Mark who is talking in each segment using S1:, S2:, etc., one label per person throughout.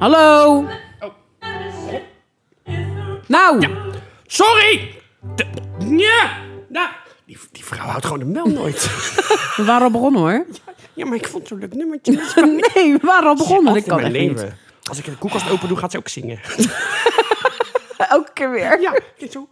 S1: Hallo? Nou,
S2: Sorry! De- ja, nou, die, die vrouw houdt gewoon de mel nooit.
S1: we waren al begonnen hoor.
S2: ja, maar ik vond zo'n leuk nummertje. Dat kan niet.
S1: Nee, we waren al begonnen.
S2: Altijd
S1: Dat
S2: in
S1: kan echt
S2: mijn
S1: niet.
S2: leven. Als ik de koelkast open doe, gaat ze ook zingen.
S1: Elke keer weer.
S2: ja, zo.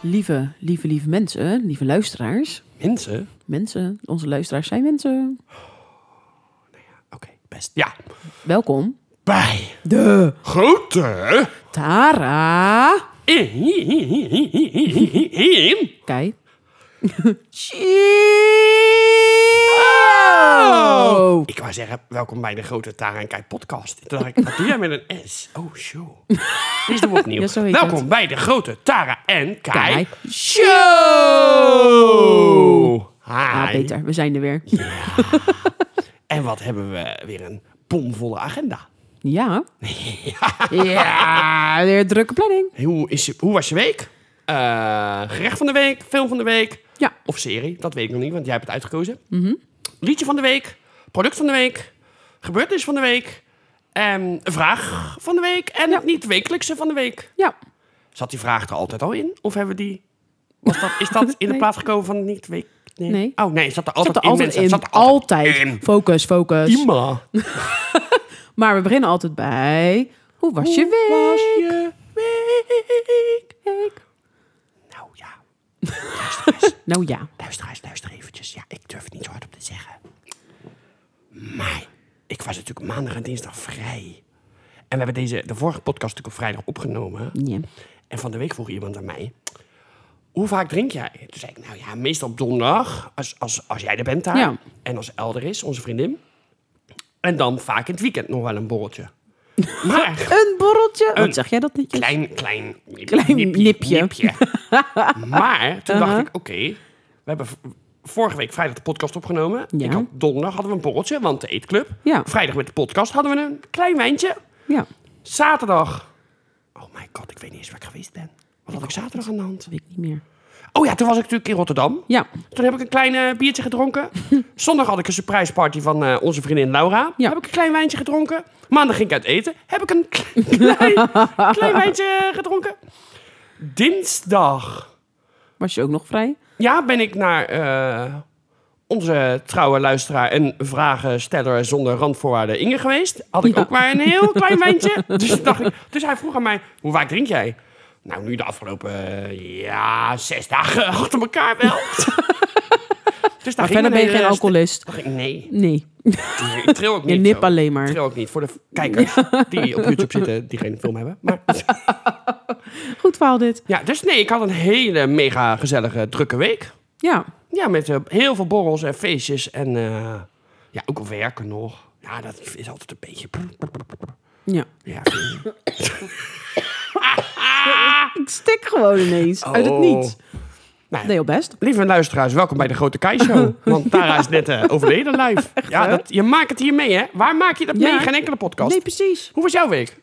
S1: Lieve, lieve, lieve mensen, lieve luisteraars.
S2: Mensen?
S1: Mensen, onze luisteraars zijn mensen.
S2: Oké, best. Ja.
S1: Welkom.
S2: Bij de grote
S1: Tara.
S2: in
S1: Kijk.
S2: Gio.
S1: Oh.
S2: Ik wou zeggen, welkom bij de grote Tara en Kai podcast. Toen dacht ik, wat doe jij met een S? Oh, show. Dus doen we opnieuw.
S1: Ja, zo heet
S2: welkom
S1: het.
S2: bij de grote Tara en Kai,
S1: Kai
S2: show. Hi.
S1: Ah, beter. We zijn er weer.
S2: En wat hebben we weer een bomvolle agenda.
S1: Ja. Ja, weer een drukke planning.
S2: Hoe, is je, hoe was je week? Eh, gerecht van de week, film van de week.
S1: Ja. Mhm.
S2: Of serie, dat weet ik nog niet, want jij hebt het uitgekozen. Liedje van de week, product van de week, gebeurtenis van de week, en een vraag van de week en het niet-wekelijkse van de week.
S1: Ja.
S2: Zat die vraag er altijd al in? Of hebben we die... Was dat, is dat in de
S1: Nee.
S2: plaats gekomen van niet-week... Nee.
S1: Nee.
S2: Oh nee, het zat er
S1: Zat
S2: altijd
S1: er
S2: in.
S1: altijd
S2: mensen.
S1: in.
S2: Het Zat er
S1: altijd. Dus Focus, focus.
S2: in. Ima.
S1: Maar we beginnen altijd bij... Hoe was je week?
S2: Was je week? Nou ja,
S1: Nou ja.
S2: Luister eens, luister eventjes. Ja, ik durf het niet zo hard op te zeggen. Maar ik was natuurlijk maandag en dinsdag vrij. En we hebben deze, de vorige podcast natuurlijk op vrijdag opgenomen.
S1: Ja.
S2: En van de week vroeg iemand aan mij... Hoe vaak drink jij? Toen zei ik, nou ja, meestal op donderdag. Als, als, als jij er bent daar.
S1: Ja.
S2: En als Elder is, onze vriendin. En dan vaak in het weekend nog wel een borreltje. Maar...
S1: Een borreltje.
S2: Een
S1: Wat zeg jij dat niet?
S2: Klein, klein,
S1: Klein nipje. Uh-huh.
S2: maar toen dacht ik, oké, we hebben v- vorige week vrijdag de podcast opgenomen.
S1: Ja.
S2: Ik had, donderdag hadden we een borreltje, want de eetclub.
S1: Ja.
S2: Vrijdag met de podcast hadden we een klein wijntje.
S1: Ja.
S2: Zaterdag. Oh my god, ik weet niet eens waar ik geweest ben. Wat had ik zaterdag aan de hand?
S1: Dat weet ik niet meer.
S2: Oh ja, toen was ik natuurlijk in Rotterdam.
S1: Ja.
S2: Toen heb ik een klein eh, biertje gedronken. Zondag had ik een surprise party van eh, onze vriendin Laura.
S1: Ja.
S2: Heb ik een klein wijntje gedronken. Maandag ging ik uit eten. Heb ik een klein, klein wijntje eh, gedronken. Dinsdag.
S1: Was je ook nog vrij?
S2: Ja, ben ik naar eh, onze trouwe luisteraar en vragensteller zonder randvoorwaarden Inge geweest. Had ik
S1: Ja.
S2: ook maar een heel klein wijntje. Dus, dacht ik, dus hij vroeg aan mij, hoe vaak drink jij? Nou, nu de afgelopen, eh, ja, zes dagen achter elkaar wel. dus daar
S1: Maar verder ben je geen
S2: alcoholist.
S1: alcoholist.
S2: Nee,
S1: Nee.
S2: nee, ik tril ook
S1: Je
S2: niet.
S1: nip
S2: zo.
S1: alleen maar.
S2: Ik tril ook niet. Voor de v- kijkers die op YouTube zitten, die geen film hebben. Maar,
S1: Goed verhaal dit.
S2: ja, dus nee, ik had een hele mega gezellige, drukke week.
S1: Ja.
S2: Ja, met eh, heel veel borrels en feestjes en eh, ja, ook wel werken nog. Ja, dat is altijd een beetje...
S1: Ja.
S2: Ja.
S1: Ik stik gewoon ineens. Uit
S2: Oh.
S1: het niets.
S2: Nou,
S1: Nee, al best.
S2: Lieve luisteraars, welkom bij de Grote Kai Show. Want Tara is net eh, overleden live. ja, dat, je maakt het hier mee, hè? Waar maak je dat
S1: Ja.
S2: mee? Geen enkele podcast.
S1: Nee, precies.
S2: Hoe was jouw week?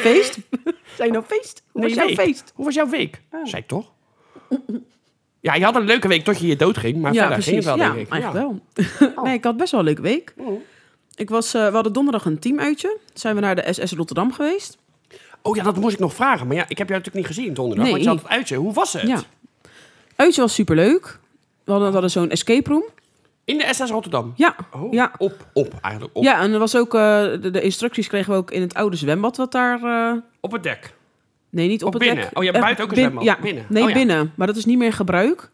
S1: Feest. Zijn nou feest? Hoe was jouw
S2: week.
S1: feest?
S2: Hoe was jouw week? Zei ik toch? Ja, je had een leuke week tot je hier dood ging. Maar
S1: Ja,
S2: verder ging
S1: precies.
S2: het wel,
S1: ja,
S2: denk ik.
S1: eigenlijk
S2: Ja.
S1: wel. nee, ik had best wel een leuke week. Ik was, eh, we hadden donderdag een teamuitje. Zijn we naar de SS Rotterdam geweest.
S2: Oh ja, dat moest ik nog vragen. Maar ja, ik heb jou natuurlijk niet gezien donderdag.
S1: Nee.
S2: Want je had het uitje. Hoe was het?
S1: Ja. Uitje was superleuk. We hadden, we hadden zo'n escape room.
S2: In de SS Rotterdam?
S1: Ja.
S2: Oh,
S1: ja.
S2: Op, op eigenlijk. Op,
S1: Ja, en er was ook, eh, de, de instructies kregen we ook in het oude zwembad wat daar... eh,
S2: op het dek.
S1: nee, niet op,
S2: Op
S1: het
S2: binnen.
S1: dek.
S2: Oh, je
S1: Echt
S2: hebt buiten ook een
S1: bin-
S2: zwembad.
S1: Ja,
S2: Binnen.
S1: Nee,
S2: Oh, ja.
S1: binnen. Maar dat is niet meer in gebruik.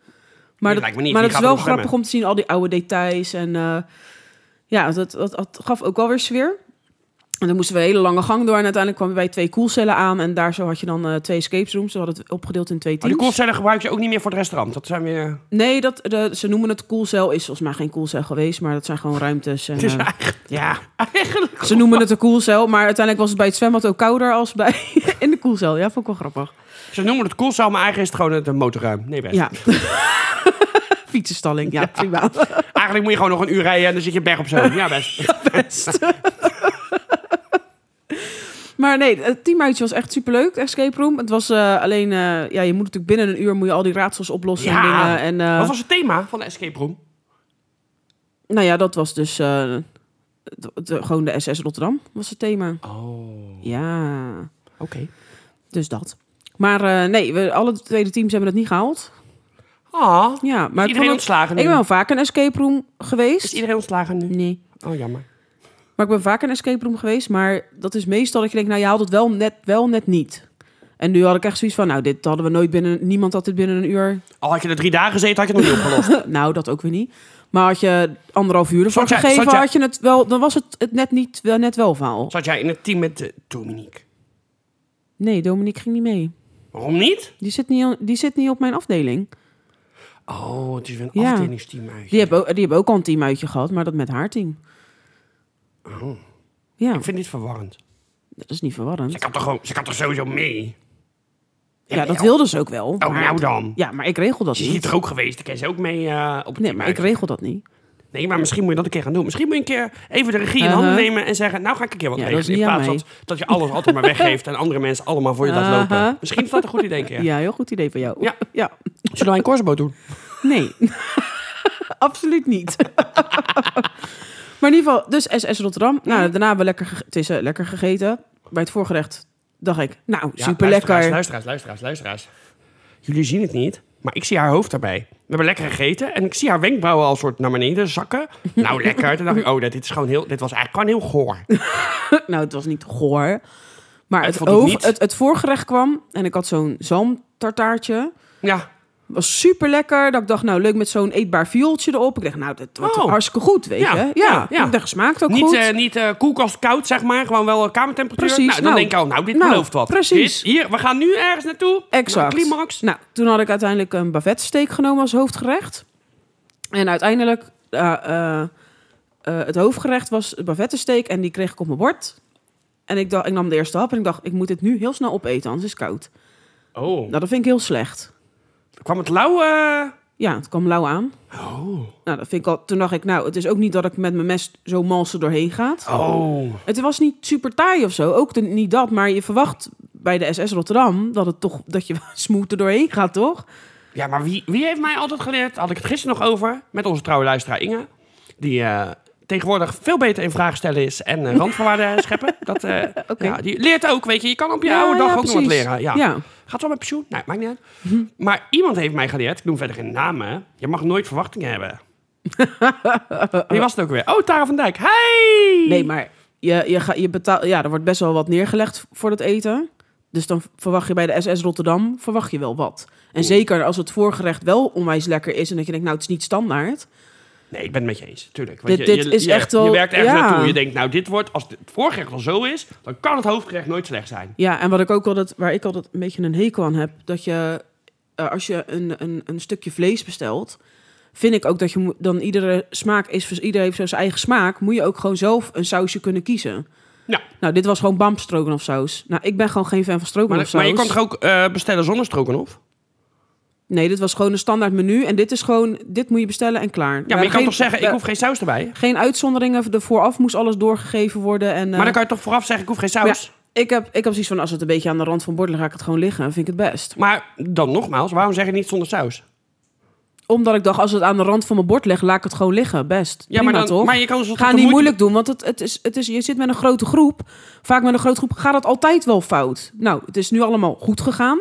S1: Maar dat,
S2: lijkt me niet.
S1: Maar dat is
S2: Wie gaat er
S1: wel
S2: nog
S1: grappig
S2: zwemmen?
S1: om te zien, al die oude details. En eh, ja, dat, dat, dat gaf ook wel weer sfeer. En dan moesten we een hele lange gang door. En uiteindelijk kwamen we bij twee koelcellen aan. En daar zo had je dan eh, twee escape rooms. Ze hadden het opgedeeld in twee
S2: Maar Oh, die
S1: teams.
S2: koelcellen gebruik je ook niet meer voor het restaurant. Dat zijn weer...
S1: Nee, dat, de, ze noemen het koelcel. Is volgens mij geen koelcel geweest, maar dat zijn gewoon ruimtes. En,
S2: Het is
S1: eh,
S2: eigenlijk...
S1: ja,
S2: eigenlijk
S1: ze noemen het een koelcel. Maar uiteindelijk was het bij het zwembad ook kouder als bij in de koelcel. Ja, vond ik wel grappig.
S2: Ze noemen het koelcel, maar eigenlijk is het gewoon het eh, motorruim. Nee, best.
S1: Ja. Fietsenstalling, ja, prima.
S2: Eigenlijk moet je gewoon nog een uur rijden en dan zit je berg op zo. Ja, best.
S1: Best. maar nee, het teamuitje was echt superleuk, escape room. Het was eh, alleen, eh, ja, je moet natuurlijk binnen een uur moet je al die raadsels oplossen en
S2: Ja.
S1: dingen. En, eh,
S2: Wat was het thema van de escape room?
S1: Nou ja, dat was dus eh, de- de- gewoon de SS Rotterdam was het thema.
S2: Oh, oké.
S1: Ja, dus dat. Maar eh, nee, we, alle tweede teams hebben het niet gehaald.
S2: Ah, is
S1: Ja, maar ik,
S2: iedereen
S1: vond het-
S2: ontslagen nu?
S1: ik ben wel vaak een escape room
S2: Is
S1: geweest.
S2: iedereen ontslagen nu?
S1: Nee.
S2: Oh, jammer.
S1: Maar ik ben vaak een escape room geweest. Maar dat is meestal dat je denkt, nou je haalt het wel net, wel net niet. En nu had ik echt zoiets van, nou dit hadden we nooit binnen, niemand had dit binnen een uur.
S2: Al had je er drie dagen gezeten, had je het nog niet opgelost.
S1: nou, dat ook weer niet. Maar had je anderhalf uur ervoor
S2: Zat jij-
S1: gegeven,
S2: zat jij-
S1: had je het wel, dan was het, het net niet, wel, net wel verhaal.
S2: Zat jij in het team met eh, Dominique?
S1: Nee, Dominique ging niet mee.
S2: Waarom niet?
S1: Die zit niet, die zit niet op mijn afdeling.
S2: Oh, het is weer een
S1: Ja.
S2: afdelingsteam uit.
S1: Die hebben, ook- die hebben ook al een teamuitje gehad, maar dat met haar team.
S2: Oh.
S1: Ja,
S2: Ik vind dit verwarrend.
S1: dat is niet verwarrend.
S2: Ze kan toch, gewoon, ze kan toch sowieso mee?
S1: Ja, dat
S2: ja.
S1: wilde ze ook wel.
S2: Oh,
S1: maar-
S2: nou dan.
S1: Ja, maar ik regel dat
S2: Ze is hier
S1: niet.
S2: toch ook geweest? Dan kan ze ook mee eh, op het
S1: Nee,
S2: team
S1: maar
S2: uit.
S1: ik regel dat niet.
S2: Nee, maar misschien moet je dat een keer gaan doen. Misschien moet je een keer even de regie in handen
S1: Uh-huh.
S2: nemen en zeggen... nou ga ik een keer wat
S1: Ja, dat is
S2: regelen. In
S1: niet aan
S2: plaats van
S1: mij.
S2: dat je alles altijd maar weggeeft... en andere mensen allemaal voor je laat lopen.
S1: Uh-huh.
S2: Misschien is dat een goed idee een
S1: Ja,
S2: keer.
S1: heel goed idee van jou.
S2: Ja.
S1: ja.
S2: Zullen wij een korsboot doen?
S1: Nee, absoluut niet. maar in ieder geval, dus SS Rotterdam. Nou, daarna hebben we lekker, gege- het is, eh, lekker gegeten. Bij het voorgerecht dacht ik, nou,
S2: Ja,
S1: super
S2: Luisteraars,
S1: lekker.
S2: luisteraars, luisteraars, luisteraars. Jullie zien het niet, maar ik zie haar hoofd daarbij. We hebben lekker gegeten en ik zie haar wenkbrauwen al soort naar beneden zakken. Nou, lekker. Toen dacht ik, oh, dat- dit, is gewoon heel, dit was eigenlijk gewoon heel goor.
S1: Nou, het was niet goor. Maar
S2: Het
S1: het,
S2: vond ik
S1: over,
S2: niet.
S1: het, het voorgerecht kwam en ik had zo'n zalmtartaartje.
S2: Ja,
S1: was super lekker. Dat ik dacht, nou leuk met zo'n eetbaar viooltje erop. Ik dacht, nou, dat wordt
S2: Oh.
S1: hartstikke goed, weet
S2: Ja,
S1: je. Ja,
S2: ja, ja.
S1: dat smaakt ook
S2: niet,
S1: goed.
S2: eh, niet eh, koelkast koud, zeg maar. Gewoon wel eh, kamertemperatuur.
S1: Precies,
S2: Nou, dan
S1: nou.
S2: denk ik al, nou, dit
S1: Nou,
S2: belooft wat.
S1: precies.
S2: Dit, hier, we gaan nu ergens naartoe.
S1: exact.
S2: Naar de climax.
S1: Nou, toen had ik uiteindelijk een bavetsteak genomen als hoofdgerecht. En uiteindelijk, eh, eh, eh, het hoofdgerecht was de bavettensteak en die kreeg ik op mijn bord. En ik, dacht, ik nam de eerste hap en ik dacht, ik moet dit nu heel snel opeten, anders is het koud.
S2: Oh,
S1: Nou, dat vind ik heel slecht.
S2: kwam het lauw... eh,
S1: Ja, het kwam lauw aan.
S2: Oh.
S1: Nou, dat vind ik al, toen dacht ik, nou, het is ook niet dat ik met mijn mes zo malse doorheen gaat.
S2: Oh.
S1: Het was niet super taai of zo. Ook de- niet dat, maar je verwacht bij de SS Rotterdam dat het toch dat je smooth er doorheen gaat, toch?
S2: Ja, maar wie, wie heeft mij altijd geleerd? Had ik het gisteren nog over met onze trouwe luisteraar Inge. Die eh, tegenwoordig veel beter in vraag stellen is en eh, randvoorwaarden scheppen. Dat, eh,
S1: Oké.
S2: ja, die leert ook, weet je. Je kan op je oude dag ook nog wat leren. Ja. Gaat wel met pensioen? Nee, maakt niet uit. Maar iemand heeft mij geleerd, ik noem verder geen namen. Je mag nooit verwachtingen hebben. Wie was het ook weer? Oh, Tara van Dijk. Hey!
S1: Nee, maar je, je, ga, je betaalt. Ja, er wordt best wel wat neergelegd voor het eten. Dus dan verwacht je bij de SS Rotterdam verwacht je wel wat. En zeker als het voorgerecht wel onwijs lekker is en dat je denkt, nou, het is niet standaard.
S2: Nee, ik ben het met je eens. Tuurlijk.
S1: Dit- dit is echt wel-
S2: Je werkt ergens
S1: ja.
S2: naartoe. Je denkt, nou, dit wordt, als het voorgerecht al zo is, dan kan het hoofdgerecht nooit slecht zijn.
S1: Ja, en wat ik ook altijd, waar ik altijd een beetje een hekel aan heb, dat je eh, als je een, een, een stukje vlees bestelt, vind ik ook dat je moet- dan iedere smaak is, vers- iedereen heeft zo zijn eigen smaak, moet je ook gewoon zelf een sausje kunnen kiezen.
S2: Ja.
S1: Nou, dit was gewoon bam strokenhof saus. Nou, ik ben gewoon geen fan van
S2: Maar,
S1: strokenhof saus.
S2: maar je kan toch ook eh, bestellen zonder strokenhof?
S1: Nee, dit was gewoon een standaard menu en dit is gewoon, dit moet je bestellen en klaar.
S2: Ja, maar je kan toch zeggen, ik hoef
S1: geen...
S2: geen saus erbij?
S1: Geen uitzonderingen, er vooraf moest alles doorgegeven worden en... eh,
S2: Maar dan kan je toch vooraf zeggen, ik hoef geen saus?
S1: ik heb, ik heb zoiets van, als het een beetje aan de rand van bord ligt, ga ik het gewoon liggen. Vind ik het best.
S2: Maar dan nogmaals, waarom zeg je niet zonder saus?
S1: Omdat ik dacht, als het aan de rand van mijn bord ligt, laat ik het gewoon liggen. Best.
S2: Ja,
S1: Prima,
S2: maar, dan,
S1: toch?
S2: maar je kan dus tot
S1: Ga
S2: de
S1: niet
S2: moeite-
S1: moeilijk doen, want het, het is, het is, je zit met een grote groep. Vaak met een grote groep gaat het altijd wel fout. Nou, het is nu allemaal goed gegaan.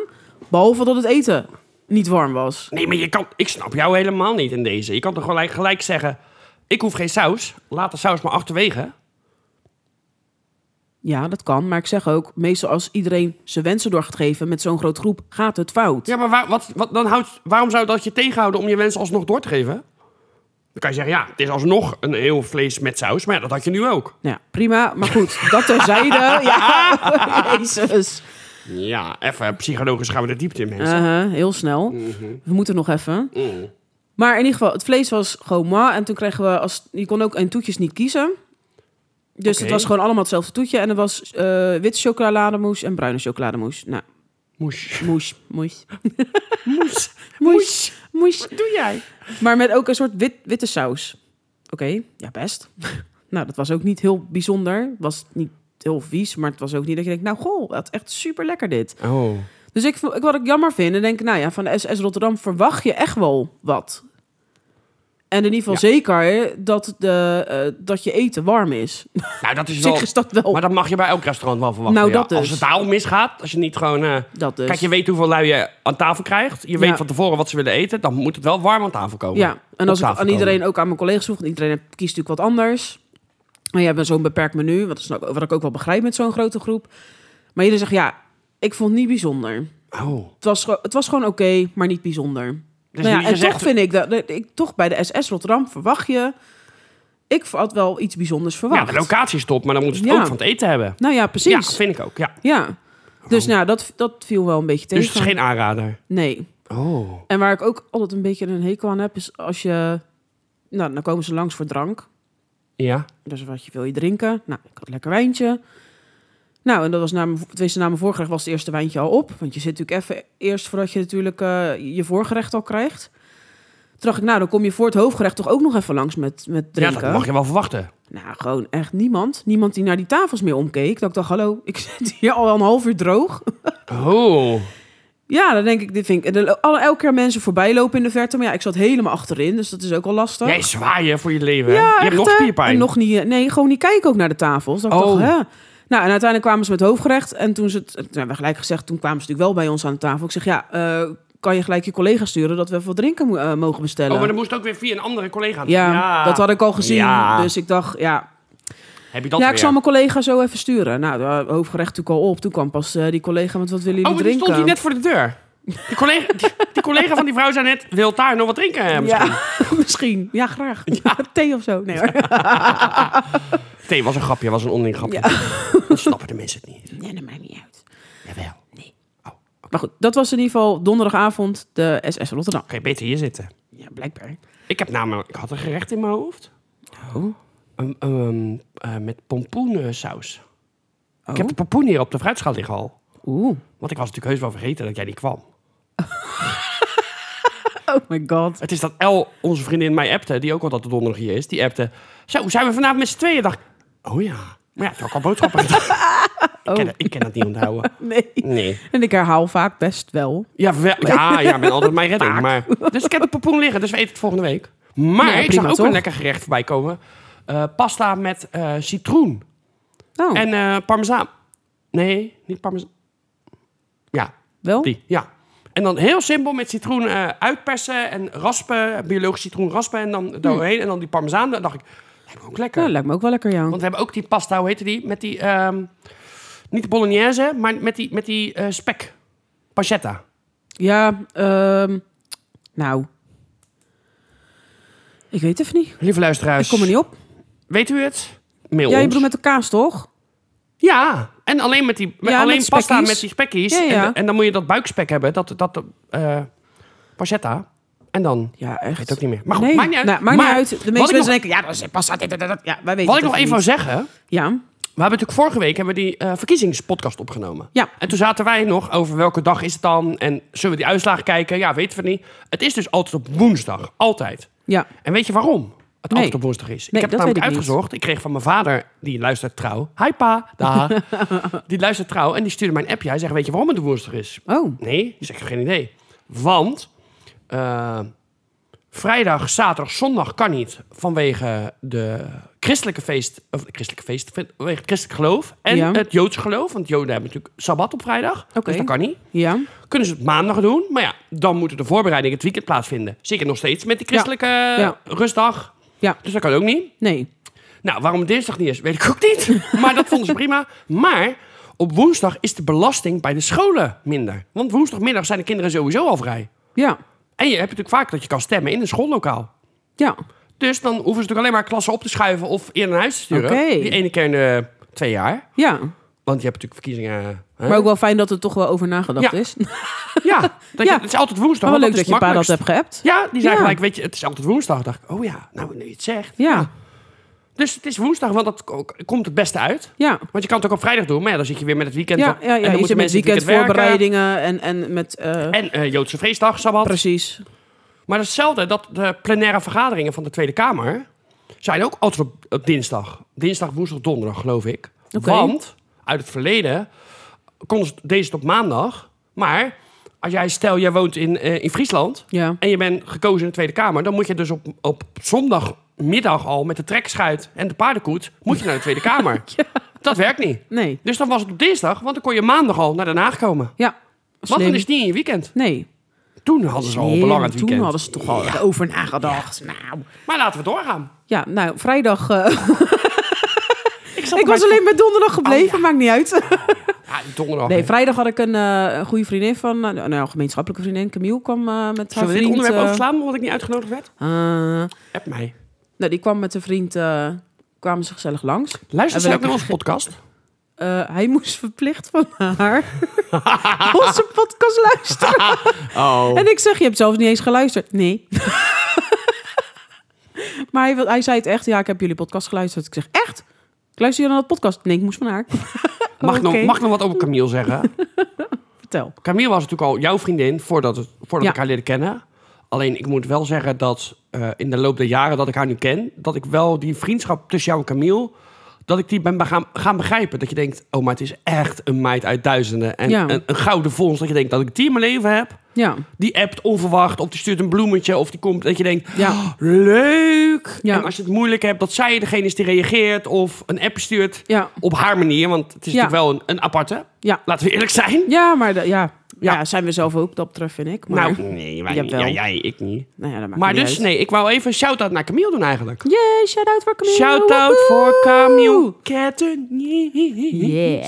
S1: Behalve dat het eten niet warm was.
S2: Nee, maar je kan... Ik snap jou helemaal niet in deze. Je kan toch gelijk, gelijk zeggen, ik hoef geen saus. Laat de saus maar achterwege.
S1: Ja, dat kan. Maar ik zeg ook, meestal als iedereen zijn wensen door gaat geven met zo'n grote groep, gaat het fout.
S2: Ja, maar waar- wat, wat, dan houdt, waarom zou dat je tegenhouden om je wens alsnog door te geven? Dan kan je zeggen, ja, het is alsnog een heel vlees met saus. Maar ja, dat had je nu ook.
S1: Nou ja, prima. Maar goed, dat terzijde. ja, jezus.
S2: Ja, even psychologisch gaan we de diepte in, mensen.
S1: Uh-huh, heel snel.
S2: Mhm.
S1: We moeten nog even.
S2: Mm.
S1: Maar in ieder geval, het vlees was gewoon moi. En toen kregen we, als, je kon ook een toetjes niet kiezen. Dus
S2: Oké.
S1: het was gewoon allemaal hetzelfde toetje. En er was eh witte chocolademousse en bruine chocolademousse. Nou,
S2: Moes.
S1: mousse, mousse.
S2: Moes.
S1: Mousse. Moes.
S2: Wat doe jij?
S1: Maar met ook een soort wit, witte saus. Oké, ja best. nou, dat was ook niet heel bijzonder. Was niet heel vies, maar het was ook niet dat je denkt... Nou, goh, dat is echt super lekker dit.
S2: Oh.
S1: Dus ik, vond- ik, wat ik jammer vind, en denk nou ja, van de SS Rotterdam verwacht je echt wel wat. En in ieder geval zeker dat, de, eh, dat je eten warm is.
S2: Nou, dat is
S1: Op
S2: wel...
S1: zich is dat wel.
S2: Maar dat mag je bij elk restaurant wel verwachten.
S1: Nou,
S2: ja.
S1: dat dus.
S2: Als het daar al misgaat, als je niet gewoon... eh,
S1: dat dus.
S2: Kijk, je weet hoeveel lui je aan tafel krijgt. Je weet
S1: Ja.
S2: van tevoren wat ze willen eten. Dan moet het wel warm aan tafel komen.
S1: Ja, en als
S2: op
S1: ik
S2: tafel
S1: aan iedereen, ook aan mijn collega's vroeg, want iedereen kiest natuurlijk wat anders. Maar je hebt zo'n beperkt menu, wat, is nou ook- wat ik ook wel begrijp met zo'n grote groep. Maar iedereen zegt, ja, ik vond het niet bijzonder.
S2: Oh.
S1: Het was, gewoon- het was gewoon oké, maar niet bijzonder.
S2: Dus
S1: nou
S2: je
S1: ja, en
S2: zegt-
S1: toch vind ik dat, dat ik toch bij de SS Rotterdam verwacht je, ik had wel iets bijzonders verwacht.
S2: Ja, de locatie is top, maar dan moeten ze het
S1: Ja.
S2: ook van het eten hebben.
S1: Nou ja,
S2: Ja,
S1: precies. Ja.
S2: vind ik ook. Ja.
S1: Dus nou, dat, dat viel wel een beetje tegen.
S2: Dus het is geen aanrader.
S1: Nee.
S2: Oh.
S1: En waar ik ook altijd een beetje een hekel aan heb, is als je... Nou, dan komen ze langs voor drank.
S2: Ja.
S1: Dus wat je wil je drinken? Nou, ik had een lekker wijntje. Nou, en dat was na mijn, tenminste, na mijn voorgerecht was het eerste wijntje al op. Want je zit natuurlijk even eerst voordat je natuurlijk eh, je voorgerecht al krijgt. Toen dacht ik, nou, dan kom je voor het hoofdgerecht toch ook nog even langs met, met
S2: ja,
S1: drinken.
S2: dat mag je wel verwachten.
S1: Nou, gewoon echt niemand. Niemand die naar die tafels meer omkeek. Dat ik dacht, hallo, ik zit hier al een half uur droog.
S2: Oh.
S1: Ja, dan denk ik, dit vind ik... en er lo- alle- Elke keer mensen voorbij lopen in de verte. Maar ja, ik zat helemaal achterin, dus dat is ook al lastig.
S2: Jij zwaaien voor je leven. hè?
S1: Ja,
S2: je
S1: echt,
S2: hebt nog
S1: hè?
S2: spierpijn.
S1: En nog niet, eh, nee, gewoon niet kijken ook naar de tafels. Dat ik
S2: Oh.
S1: dacht, hè? Nou, en uiteindelijk kwamen ze met hoofdgerecht. En toen ze het, toen hebben we gelijk gezegd, toen kwamen ze natuurlijk wel bij ons aan de tafel. Ik zeg, ja, eh, kan je gelijk je collega sturen dat we even wat drinken mo- eh, mogen bestellen?
S2: Oh, maar dan moest ook weer via een andere collega.
S1: ja, dat had ik al gezien.
S2: Ja.
S1: Dus ik dacht, ja.
S2: Heb je dat
S1: ja, ik
S2: weer?
S1: zal mijn collega zo even sturen. Nou, de hoofdgerecht natuurlijk al op. Toen kwam pas eh, die collega met wat willen jullie
S2: Oh, maar die
S1: drinken?
S2: stond hier net voor de deur. Die collega, die, die collega van die vrouw zei net, wil daar nog wat drinken? eh, misschien?
S1: Ja, misschien. Ja, graag. Thee of zo. Nee hoor.
S2: Nee, was een grapje, was een onderling grapje. Dat snappen de mensen het niet.
S1: Nee, dat maakt niet uit.
S2: Jawel. Oké,
S1: Maar goed, dat was in ieder geval donderdagavond de SS Rotterdam.
S2: beter hier zitten.
S1: Ja, blijkbaar.
S2: Ik heb namelijk, ik had een gerecht in mijn hoofd. Oh, Een- een, eh, met pompoensaus. Ik
S1: Oh.
S2: heb de pompoen hier op de fruitschaal liggen al.
S1: Oeh.
S2: Want ik was natuurlijk heus wel vergeten dat jij niet kwam.
S1: Oh my god.
S2: Het is dat El, onze vriendin, mij appte, die ook altijd de donderdag hier is. Die appte, zo, zijn we vanavond met z'n tweeën? Dacht ik, oh ja. Maar ja, ik had ook al boodschappen gedaan. ik, ken, dat- ik ken dat niet onthouden.
S1: Nee.
S2: Nee.
S1: En ik herhaal vaak best wel.
S2: Ja, wel, ja, ja, ik ben altijd mijn redding. Maar, dus ik heb de pompoen liggen, dus we eten het volgende week. Maar
S1: Ja,
S2: ik
S1: prima,
S2: zag ook
S1: toch?
S2: een lekker gerecht voorbij komen. Eh, pasta met eh, citroen
S1: Oh,
S2: en eh parmezaan. Nee, niet parmezaan. Ja,
S1: wel?
S2: die, ja. En dan heel simpel met citroen eh, uitpersen en raspen. Biologisch citroen raspen en dan doorheen. En dan die parmezaan. Dan dacht ik, lijkt me ook lekker.
S1: Hmm. Ja, lijkt me ook wel lekker, ja.
S2: Want we hebben ook die pasta, hoe heette die? Met die, ehm, niet de bolognese, maar met die, met die eh, spek. Pancetta.
S1: Ja, ehm, nou. Ik weet even niet.
S2: Lieve luisteraars.
S1: Ik kom er niet op.
S2: Weet u het? Mail
S1: Ja, je
S2: ons.
S1: bedoelt met de kaas, toch?
S2: Ja, en alleen, met die, met-
S1: Ja,
S2: alleen
S1: met
S2: pasta
S1: spekkies.
S2: met die spekkies.
S1: Ja, ja.
S2: En, en dan moet je dat buikspek hebben, dat, dat eh pancetta. En dan...
S1: Ja,
S2: Ik weet
S1: echt.
S2: het ook niet meer. Maar goed,
S1: nee.
S2: maakt niet uit.
S1: Nou, maakt niet
S2: Maar
S1: uit. De meeste
S2: wat
S1: mensen
S2: ik nog-
S1: denken, ja, dat is pasta, dit, dat, dat. Ja, wij weten
S2: Wat ik
S1: het
S2: nog even
S1: niet.
S2: wil zeggen...
S1: Ja,
S2: We hebben natuurlijk vorige week hebben we die eh, verkiezingspodcast opgenomen.
S1: Ja.
S2: En toen zaten wij nog over welke dag is het dan en zullen we die uitslagen kijken? Ja, weten we niet. Het is dus altijd op woensdag, altijd.
S1: ja.
S2: En weet je waarom het
S1: Nee.
S2: altijd op woensdag is?
S1: Nee, dat
S2: ik heb het
S1: weet
S2: namelijk
S1: ik niet.
S2: uitgezocht. Ik kreeg van mijn vader, die luistert trouw. Hi pa, dag. die luistert trouw en die stuurde mij een appje. Hij zegt, weet je waarom het op woensdag is?
S1: Oh,
S2: Nee, ik zeg, geen idee. Want eh, vrijdag, zaterdag, zondag kan niet vanwege de christelijke feest, of de christelijke feest, vanwege het christelijk geloof en
S1: Ja.
S2: het joodse geloof. Want Joden hebben natuurlijk sabbat op vrijdag,
S1: Oké.
S2: dus dat kan niet.
S1: ja.
S2: Kunnen ze het maandag doen, maar ja, dan moeten de voorbereidingen het weekend plaatsvinden. Zeker nog steeds met die christelijke eh,
S1: Ja.
S2: rustdag.
S1: Ja.
S2: Dus dat kan ook niet.
S1: Nee.
S2: Nou, waarom het dinsdag niet is, weet ik ook niet. Maar dat vonden ze prima. Maar op woensdag is de belasting bij de scholen minder. Want woensdagmiddag zijn de kinderen sowieso al vrij.
S1: Ja.
S2: En je hebt natuurlijk vaak dat je kan stemmen in een schoollokaal.
S1: Ja.
S2: Dus dan hoeven ze natuurlijk alleen maar klassen op te schuiven of in naar huis te sturen.
S1: Oké.
S2: Die ene keer in de twee jaar.
S1: Ja.
S2: Want je hebt natuurlijk verkiezingen. hè?
S1: Maar ook wel fijn dat er toch wel over nagedacht
S2: Ja.
S1: is. Maar
S2: Ja, dat
S1: Ja.
S2: Je, het is altijd woensdag.
S1: wel leuk
S2: want
S1: dat je
S2: is
S1: pa
S2: het
S1: dat hebt
S2: makkelijkst.
S1: geappt.
S2: Ja, die zei
S1: Ja.
S2: gelijk, weet je, het is altijd woensdag. Dacht ik, oh ja, nou nu je het zegt.
S1: Ja.
S2: Dus het is woensdag, want dat ko- komt het beste uit.
S1: Ja.
S2: Want je kan het ook op vrijdag doen, maar ja, dan zit je weer met het weekend.
S1: Ja, ja,
S2: en
S1: ja.
S2: dan
S1: je
S2: moeten
S1: zit met
S2: mensen het weekend werken.
S1: weekendvoorbereidingen en, en met... eh,
S2: En eh, Joodse feestdag, Sabbat.
S1: precies.
S2: Maar hetzelfde, dat de plenaire vergaderingen van de Tweede Kamer zijn ook altijd op, op dinsdag. Dinsdag, woensdag, donderdag, geloof ik.
S1: Oké.
S2: Want uit het verleden konden ze deze tot maandag. Maar als jij, stel, jij woont in, eh, in Friesland
S1: Ja.
S2: en je bent gekozen in de Tweede Kamer, dan moet je dus op, op zondagmiddag al met de trekschuit en de paardenkoets moet je naar de Tweede Kamer. Dat werkt niet.
S1: Nee.
S2: Dus dan was het op dinsdag, want dan kon je maandag al naar Den Haag komen.
S1: Ja.
S2: Want
S1: Slim.
S2: dan is het niet in je weekend.
S1: Nee.
S2: Toen hadden ze al een
S1: Nee,
S2: belangrijk
S1: toen
S2: weekend.
S1: hadden ze toch al over nagedacht. Nou.
S2: Maar laten we doorgaan.
S1: Ja, nou, vrijdag... eh,
S2: zat
S1: ik
S2: op
S1: was
S2: mijn-
S1: alleen met donderdag gebleven,
S2: Oh,
S1: maakt niet uit.
S2: Ja, donderdag.
S1: Nee, vrijdag had ik een, eh, een goede vriendin van... eh, nou, een gemeenschappelijke vriendin. Camille kwam eh, met haar
S2: Zullen we dit
S1: vriend...
S2: onderwerp
S1: eh,
S2: overslaan, omdat ik niet uitgenodigd werd?
S1: eh,
S2: App mij.
S1: nou, die kwam met een vriend... eh, kwamen ze gezellig langs.
S2: Luister
S1: En we
S2: ze ook naar
S1: lekker-
S2: onze podcast?
S1: Eh, hij moest verplicht van haar onze podcast luisteren.
S2: Oh.
S1: En ik zeg, je hebt zelfs niet eens geluisterd. Nee. maar hij, wil- hij zei het echt. Ja, ik heb jullie podcast geluisterd. Ik zeg, echt? Ik luister je naar dat podcast? Nee, ik moest van haar.
S2: Mag, ik nog,
S1: Oké.
S2: mag ik nog wat over Camille zeggen?
S1: Vertel.
S2: Camille was natuurlijk al jouw vriendin voordat, het, voordat
S1: Ja.
S2: ik haar leerde kennen. Alleen ik moet wel zeggen dat eh, in de loop der jaren dat ik haar nu ken, dat ik wel die vriendschap tussen jou en Camille, dat ik die ben be- gaan, gaan begrijpen. Dat je denkt, oh maar het is echt een meid uit duizenden. En
S1: Ja.
S2: een, een gouden vondst dat je denkt dat ik die in mijn leven heb.
S1: Ja,
S2: Die appt onverwacht of die stuurt een bloemetje of die komt dat je denkt,
S1: Ja.
S2: "Oh, leuk.
S1: Ja.
S2: En als je het moeilijk hebt, dat zij degene is die reageert of een app stuurt
S1: ja,
S2: op haar manier. Want het is
S1: Ja.
S2: natuurlijk wel een, een aparte,
S1: ja.
S2: laten we eerlijk zijn.
S1: Ja, maar de- ja. Ja.
S2: Ja.
S1: zijn we zelf ook, dat betreft, vind ik. Maar, nou,
S2: Nou, nee, wij,
S1: Jawel.
S2: ja, jij, ik niet.
S1: nou ja, dat maakt
S2: Maar
S1: niet
S2: dus,
S1: uit.
S2: nee, ik wou even een shout-out naar Camille doen eigenlijk.
S1: Yay, shout-out voor Camille.
S2: Shout-out
S1: Woehoe.
S2: voor Camille Kettenies.
S1: Yeah.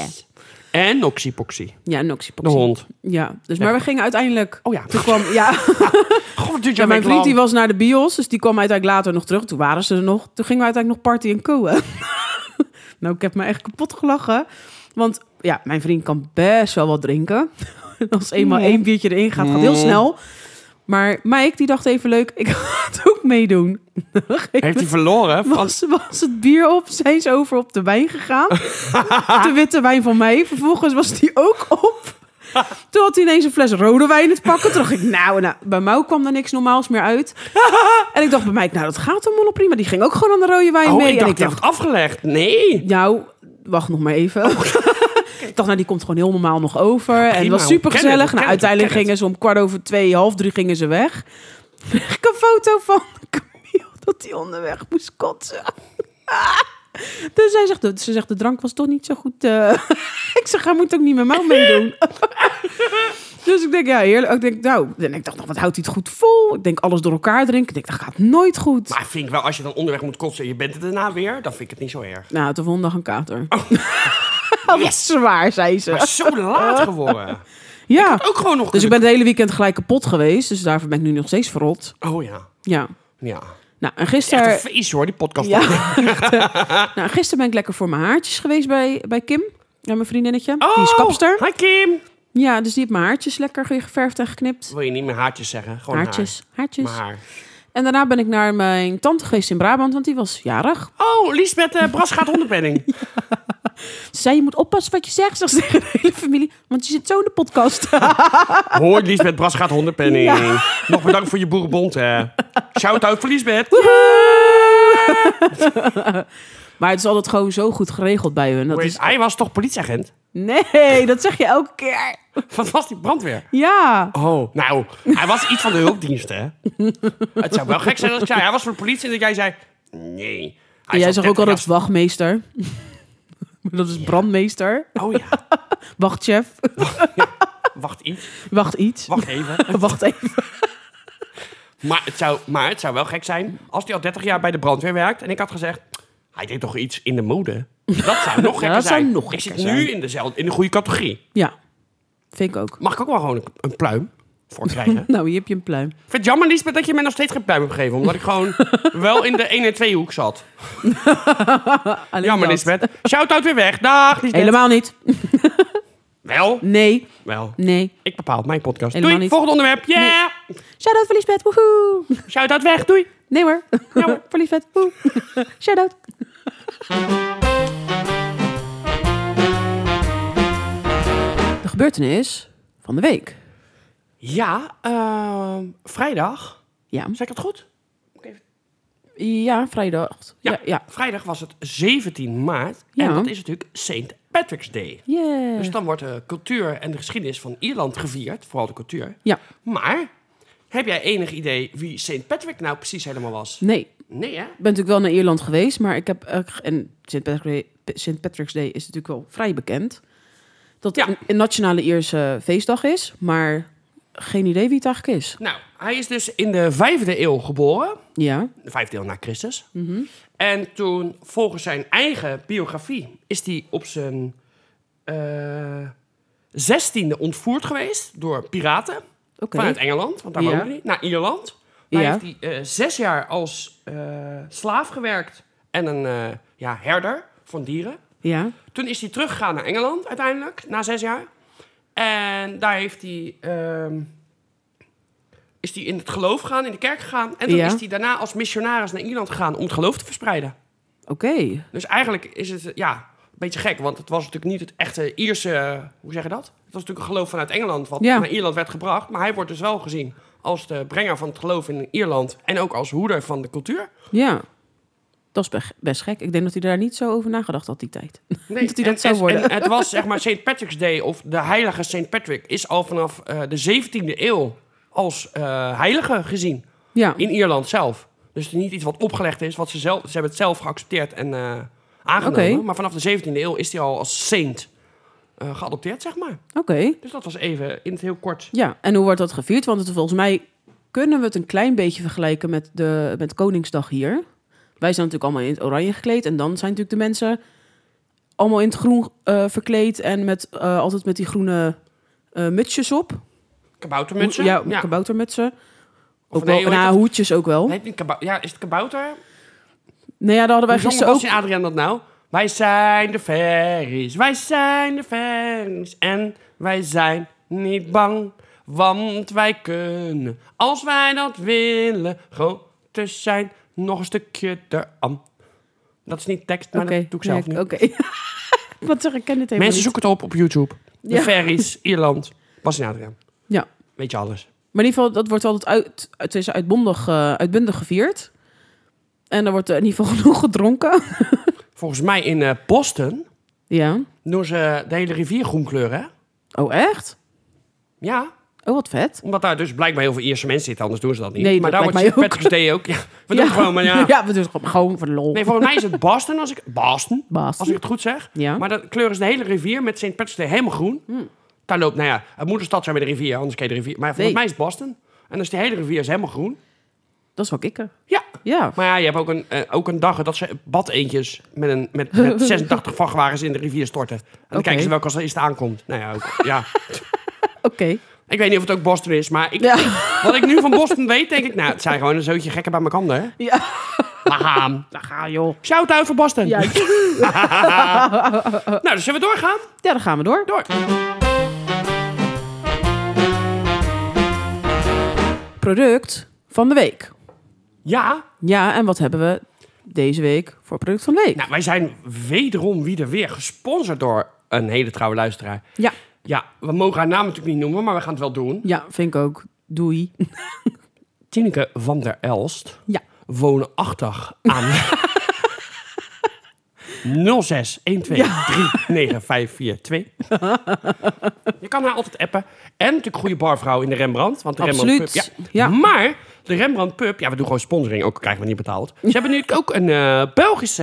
S2: En Noxie Poxie,
S1: Ja, Noxie
S2: de hond.
S1: Ja, dus, maar we gingen uiteindelijk...
S2: Oh ja,
S1: Toen kwam, ja,
S2: god, het duurt
S1: Ja,
S2: ja,
S1: mijn vriend die was naar de bios, dus die kwam uiteindelijk later nog terug. Toen waren ze er nog. Toen gingen we uiteindelijk nog party en koen. nou, ik heb me echt kapot gelachen. Want ja, mijn vriend kan best wel wat drinken. En Als eenmaal één biertje erin gaat, gaat heel snel. Maar Mike, die dacht even leuk, ik ga het ook meedoen.
S2: Heeft hij verloren? Van...
S1: Was, was het bier op, zijn ze over op de wijn gegaan. de witte wijn van mij. Vervolgens was die ook op. Toen had hij ineens een fles rode wijn in het pakken. Toen dacht ik, nou, nou bij Mau kwam er niks normaals meer uit. en ik dacht bij mij, nou, dat gaat allemaal nog prima. Die ging ook gewoon aan de rode wijn
S2: Oh,
S1: mee.
S2: ik dacht,
S1: en
S2: ik heeft het afgelegd. Nee.
S1: nou, wacht nog maar even.
S2: Oh.
S1: Ik dacht, nou, die komt gewoon heel normaal nog over. en het was
S2: we kennen
S1: super
S2: het, we
S1: gezellig.
S2: kennen
S1: Nou,
S2: het,
S1: uiteindelijk
S2: we
S1: gingen
S2: kennen
S1: ze om kwart over twee, half drie gingen ze weg. Kreeg ik een foto van Camille dat hij onderweg moest kotsen. Dus zij zegt, ze zegt, de drank was toch niet zo goed. eh. ik zeg, hij moet ook niet met mij meedoen. dus ik denk, ja, heerlijk. Ik denk, nou, en ik dacht nog, wat houdt hij het goed vol? Ik denk, alles door elkaar drinken. Ik denk, dat gaat nooit goed.
S2: Maar vind ik wel, als je dan onderweg moet kotsen en je bent er daarna weer, dan vind ik het niet zo erg.
S1: Nou, de volgende dag een kater. Dat was zwaar, zei ze.
S2: Oh. Maar het is zo laat geworden.
S1: Ja,
S2: Ook gewoon nog...
S1: dus ik ben het hele weekend gelijk kapot geweest. Dus daarvoor ben ik nu nog steeds verrot.
S2: Oh ja.
S1: Ja.
S2: Ja.
S1: Nou, en
S2: Echt een
S1: gisteren...
S2: feest hoor, die podcast.
S1: Ja, echt, eh. nou, gisteren ben ik lekker voor mijn haartjes geweest bij, bij Kim. Ja, mijn vriendinnetje. die is
S2: Oh,
S1: kapster.
S2: Hi Kim.
S1: Ja, dus die heeft mijn haartjes lekker geverfd en geknipt.
S2: Wil je niet meer haartjes zeggen? Gewoon
S1: Haartjes,
S2: Haar.
S1: haartjes.
S2: Maar haar.
S1: En daarna ben ik naar mijn tante geweest in Brabant, want die was jarig.
S2: Oh, Lisbeth eh, Bras gaat hondenpenning.
S1: Ze zei, je moet oppassen wat je zegt, zegt ze tegen de hele familie. Want je zit zo in de podcast.
S2: Hoor, Lisbeth Bras gaat hondenpenning.
S1: Ja.
S2: Nog bedankt voor je boerenbond, hè. Shout-out voor Lisbeth.
S1: maar het is altijd gewoon zo goed geregeld bij hun. Dat
S2: Wait,
S1: is...
S2: Hij was toch politieagent?
S1: Nee, dat zeg je elke keer.
S2: Wat was die brandweer?
S1: Ja.
S2: Oh. Nou, hij was iets van de hulpdiensten, hè. Het zou wel gek zijn als ik zei, hij was voor de politie en dat jij zei... Nee. Hij
S1: En jij
S2: zat
S1: zegt ook
S2: 30
S1: altijd wachtmeester. Maar dat is brandmeester.
S2: jaar- Oh ja,
S1: Wachtchef.
S2: wacht iets.
S1: Wacht iets.
S2: Wacht even.
S1: Wacht even.
S2: Maar het, zou, maar het zou wel gek zijn als hij al 30 jaar bij de brandweer werkt. En ik had gezegd, hij deed toch iets in de mode? Dat zou nog gekker
S1: dat zou
S2: zijn.
S1: nog
S2: ik zit
S1: gekker
S2: nu
S1: zijn.
S2: in, dezelfde, in de goede categorie.
S1: Ja, vind ik ook.
S2: Mag ik ook wel gewoon een, een pluim voor krijgen? ik
S1: Nou, hier heb je een pluim.
S2: vind het jammer, Lisbeth, dat je mij nog steeds geen pluim hebt gegeven. Omdat ik gewoon wel in de 1 en 2 hoek zat.
S1: Alleen
S2: Jammer,
S1: dat.
S2: Lisbeth. Shout-out weer weg. Dag, Lisbeth.
S1: Helemaal niet.
S2: Wel,
S1: Nee,
S2: wel.
S1: nee.
S2: Ik bepaal mijn podcast.
S1: Helemaal
S2: doei,
S1: niet.
S2: volgende onderwerp. Yeah!
S1: Shout-out voor Lisbeth. Woehoe.
S2: Shout-out weg, doei.
S1: Nee hoor.
S2: Ja hoor.
S1: voor Lisbeth. Woe. Shout-out. De gebeurtenis van de week.
S2: Ja, ehm, vrijdag
S1: Ja.
S2: Zeg ik dat goed?
S1: Ja, vrijdag.
S2: Ja.
S1: Ja. ja.
S2: Vrijdag was het 17 maart. En
S1: Ja.
S2: dat is natuurlijk St. Patrick's Day.
S1: Yeah.
S2: Dus dan wordt de cultuur en de geschiedenis van Ierland gevierd. Vooral de cultuur.
S1: Ja.
S2: Maar heb jij enig idee wie St. Patrick nou precies helemaal was?
S1: Nee, ik
S2: Nee, hè?
S1: ben natuurlijk wel naar Ierland geweest, maar ik heb... eh, g- en St. Patrick Day- St. Patrick's Day is natuurlijk wel vrij bekend. Dat
S2: Ja.
S1: een, een nationale Ierse feestdag is, maar geen idee wie het eigenlijk is.
S2: Nou, hij is dus in de vijfde eeuw geboren.
S1: Ja,
S2: De vijfde eeuw na Christus.
S1: Mhm.
S2: En toen, volgens zijn eigen biografie, is hij op zijn eh, zestiende ontvoerd geweest door piraten.
S1: oké.
S2: Vanuit Engeland, want daar
S1: Ja.
S2: woonde hij. Naar Ierland. Daar
S1: Ja.
S2: heeft hij eh, zes jaar als eh, slaaf gewerkt. En een eh, ja, herder van dieren.
S1: Ja,
S2: Toen is hij teruggegaan naar Engeland uiteindelijk, na zes jaar. En daar heeft hij, ehm, is hij in het geloof gegaan, in de kerk gegaan. En toen
S1: Ja.
S2: is hij daarna als missionaris naar Ierland gegaan om het geloof te verspreiden.
S1: oké.
S2: Dus eigenlijk is het eh, ja, een beetje gek, want het was natuurlijk niet het echte Ierse, eh, hoe zeg je dat? Het was natuurlijk een geloof vanuit Engeland wat
S1: Ja.
S2: naar Ierland werd gebracht. Maar hij wordt dus wel gezien als de brenger van het geloof in Ierland en ook als hoeder van de cultuur.
S1: Ja. Dat is be- best gek. Ik denk dat hij daar niet zo over nagedacht had die tijd.
S2: Nee,
S1: Dat hij dat
S2: en-
S1: zou
S2: en-
S1: worden.
S2: en het was zeg maar St. Patrick's Day of de heilige St. Patrick is al vanaf eh, de 17e eeuw als eh, heilige gezien
S1: Ja, oké.
S2: in Ierland zelf. Dus het is niet iets wat opgelegd is, wat ze, zelf, ze hebben het zelf geaccepteerd en eh, aangenomen.
S1: Oké.
S2: Maar vanaf de 17e eeuw is hij al als saint eh, geadopteerd, zeg maar. Dus dat was even in het heel kort.
S1: Ja, en hoe wordt dat gevierd? Want het, volgens mij kunnen we het een klein beetje vergelijken met, de, met Koningsdag hier. Wij zijn natuurlijk allemaal in het oranje gekleed. En dan zijn natuurlijk de mensen allemaal in het groen eh, verkleed. En met, eh, altijd met die groene eh, mutsjes op.
S2: Kaboutermutsen?
S1: Ja, kaboutermutsen.
S2: Of
S1: Ook
S2: nee,
S1: wel,
S2: hoe heet
S1: nou, hoedjes ook wel.
S2: het?
S1: Nee,
S2: Heet het kabou- ja, is het kabouter?
S1: ja, daar hadden wij
S2: Hoe zong
S1: gisteren ook.
S2: Bas en Adriaan dat nou? Wij zijn de ferries, wij zijn de ferries en wij zijn niet bang, want wij kunnen, als wij dat willen, groter zijn, nog een stukje eran. Dat is niet tekst, maar
S1: Oké,
S2: dat doe ik zelf
S1: nee,
S2: nu.
S1: Oké. Wat zeg ik, ken dit helemaal
S2: Mensen
S1: niet.
S2: zoeken het op op YouTube. De
S1: Ja.
S2: ferries, Ierland, Bas en Adriaan.
S1: Ja.
S2: Weet je alles.
S1: Maar in ieder geval, dat wordt altijd uit, het is uitbondig, eh, uitbundig gevierd. En er wordt eh, in ieder geval genoeg gedronken.
S2: Volgens mij in eh, Boston
S1: Ja.
S2: doen ze de hele rivier groen kleuren, hè?
S1: Oh, echt?
S2: Ja,
S1: Oh, wat vet.
S2: Omdat daar dus blijkbaar heel veel Ierse mensen zitten, anders doen ze dat niet.
S1: Nee, dat
S2: maar daar wordt
S1: lijkt
S2: St.
S1: mij
S2: Patrick's Day ook. Ja, we doen het gewoon, maar ja.
S1: ja, we doen het gewoon, gewoon voor de lol.
S2: Nee, volgens mij is het Boston, als ik, Boston,
S1: Boston.
S2: als ik het goed zeg.
S1: Ja. Hmm.
S2: Maar dat kleuren ze de hele rivier met St. Patrick's Day helemaal groen. Daar loopt, nou ja, het moet een stad zijn met een rivier, anders ken je de rivier. Maar volgens
S1: Nee.
S2: mij is het Boston. En dus die hele rivier is helemaal groen.
S1: Dat is wel kicken.
S2: Ja.
S1: Ja.
S2: Maar ja, je hebt ook een, eh, ook een dag dat ze badeentjes met, een, met, met 86 vrachtwagens in de rivier storten. En dan
S1: Oké.
S2: kijken ze welke als eerste aankomt. Nou ja, ook, ja.
S1: Oké.
S2: Ik weet niet of het ook Boston is, maar ik,
S1: Ja.
S2: Wat ik nu van Boston weet, denk ik, nou, het zijn gewoon een zootje gekken bij elkaar, hè?
S1: Ja.
S2: Baham.
S1: Daar ga joh.
S2: Shout-out voor Boston.
S1: Ja.
S2: Nou, dus zullen we doorgaan?
S1: ja, dan gaan we door.
S2: Door.
S1: Product van de week.
S2: Ja,
S1: Ja, en wat hebben we deze week voor product van de week?
S2: nou, wij zijn wederom weer weer gesponsord door een hele trouwe luisteraar.
S1: Ja.
S2: Ja, we mogen haar naam natuurlijk niet noemen, maar we gaan het wel doen.
S1: Ja, vind ik ook. Doei.
S2: Tineke van der Elst.
S1: Ja.
S2: Woonachtig aan... 06 12 Je kan haar altijd appen. En natuurlijk goede barvrouw in de Rembrandt. Want de Rembrandt
S1: Absoluut,
S2: Pub...
S1: ja.
S2: Maar de Rembrandt Pub... Ja, we doen gewoon sponsoring. Ook krijgen we niet betaald. Ze hebben nu ook een eh, Belgische...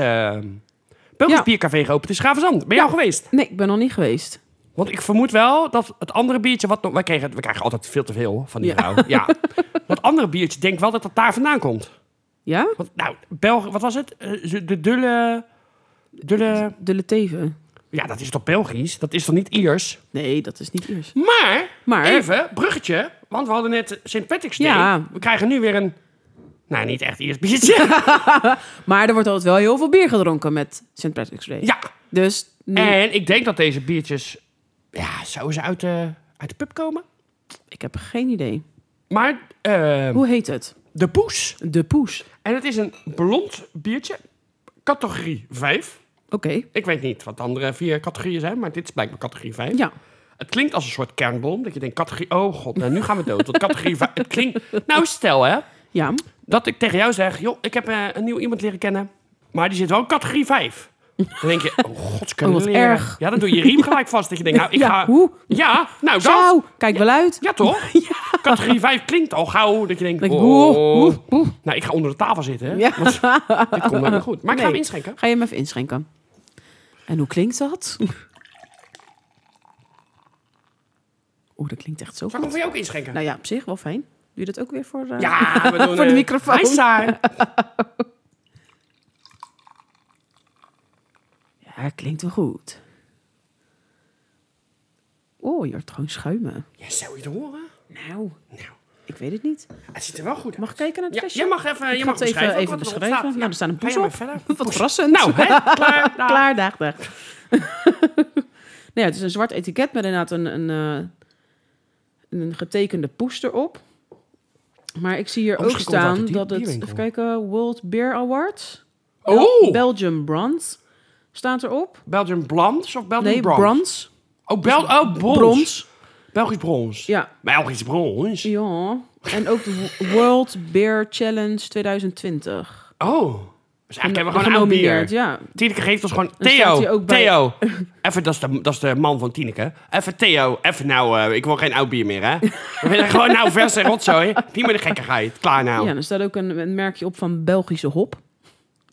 S2: Belgisch
S1: Ja.
S2: biercafé geopend in Schavenzand. Ben je al geweest?
S1: Nee, ik ben nog niet geweest.
S2: Want ik vermoed wel dat het andere biertje wat... nog- Wij kregen, we krijgen altijd veel te veel van die
S1: Ja.
S2: vrouw. Ja. Dat andere biertje, denk wel dat dat daar vandaan komt.
S1: Ja?
S2: Want, nou, België, wat was het? Eh, ze- De dulle... Dulle...
S1: De Leteven.
S2: Ja, dat is toch Belgisch? Dat is toch niet Iers?
S1: Nee, dat is niet Iers.
S2: Maar,
S1: Maar-
S2: even, bruggetje. Want we hadden net St. Patrick's Day.
S1: Ja.
S2: We krijgen nu weer een... Nou, niet echt Iers biertje.
S1: Maar er wordt altijd wel heel veel bier gedronken met St. Patrick's Day.
S2: ja.
S1: Dus nee,
S2: En ik denk dat deze biertjes... Ja, zouden ze uit de, uit de pub komen?
S1: ik heb geen idee.
S2: Maar eh,
S1: Hoe heet het?
S2: de poes.
S1: De Poes.
S2: En het is een blond biertje. Categorie 5.
S1: Oké.
S2: Ik weet niet wat de andere vier categorieën zijn, maar dit is blijkbaar categorie 5.
S1: Ja.
S2: Het klinkt als een soort kernbom. Dat je denkt, categorie... Oh god, nou, nu gaan we dood. Want categorie 5... Het klinkt... Nou, stel hè.
S1: Ja.
S2: Dat ik tegen jou zeg, joh, ik heb eh, een nieuw iemand leren kennen. Maar die zit wel in categorie 5. Dan denk je, oh
S1: Oh, wat
S2: godskunde leren.
S1: erg.
S2: Ja, dan doe je riem gelijk vast. Dat je denkt, nou, ik
S1: ja,
S2: ga...
S1: Hoe?
S2: Ja, nou dat.
S1: Zo, kijk wel uit.
S2: Ja, toch? Categorie 5 klinkt al gauw. Dat je denkt,
S1: Denk,
S2: oh,
S1: hoe, hoe, hoe.
S2: Nou, ik ga onder de tafel zitten.
S1: Ja.
S2: Want dit komt helemaal goed. Maar ik ga
S1: Nee.
S2: hem inschenken.
S1: Ga je hem even inschenken. En hoe klinkt dat? Oeh, dat klinkt echt zo
S2: Zal ik hem
S1: goed.
S2: voor jou ook inschenken?
S1: Nou ja, op zich wel fijn. Doe je dat ook weer voor... eh,
S2: Ja, we doen,
S1: Voor de
S2: eh,
S1: microfoon.
S2: Hij is daar.
S1: Ja, klinkt wel goed. Oh, je hoort gewoon schuimen.
S2: Ja, zou je het horen?
S1: Nou,
S2: Nou,
S1: ik weet het niet.
S2: het ziet er wel goed uit.
S1: Mag ik kijken naar het
S2: Ja,
S1: flesje?
S2: jij mag even,
S1: Ik
S2: je
S1: ga
S2: mag
S1: het even,
S2: beschrijven. ook
S1: even
S2: wat erop
S1: beschrijven.
S2: staat.
S1: Nou, er staan een
S2: Ga jij
S1: poes
S2: maar
S1: op.
S2: verder.
S1: Wat verrassend.
S2: Nou, hè? Klaar. daar.
S1: Klaar, dag, dag. nou ja, het is een zwart etiket met inderdaad een, een, eh, een getekende poes erop. Maar ik zie hier
S2: Oh,
S1: ook
S2: misschien komt het
S1: staan
S2: uit de
S1: dat het...
S2: bierwinkel.
S1: Even kijken, World Beer Awards.
S2: Oh!
S1: Belgium Bronze staat erop.
S2: Belgium Blondes of Belgium
S1: Nee,
S2: Bronze?
S1: brons.
S2: Oh, Bel oh, brons.
S1: Brons.
S2: Belgisch brons.
S1: Ja.
S2: Belgisch brons.
S1: Ja. En ook de Wo- World Beer Challenge 2020.
S2: Oh. Dus eigenlijk hebben we gewoon een oud bier.
S1: Genomineerd, ja.
S2: Tineke geeft ons gewoon...
S1: staat
S2: Theo,
S1: hij ook bij-
S2: Theo. Even, dat is, de, dat is de man van Tineke. Even Theo, even nou... eh, ik wil geen oud bier meer, hè? We willen gewoon nou verse rotzooi. Niet meer de gekkigheid. Klaar nou.
S1: Ja, er staat ook een, een merkje op van Belgische hop.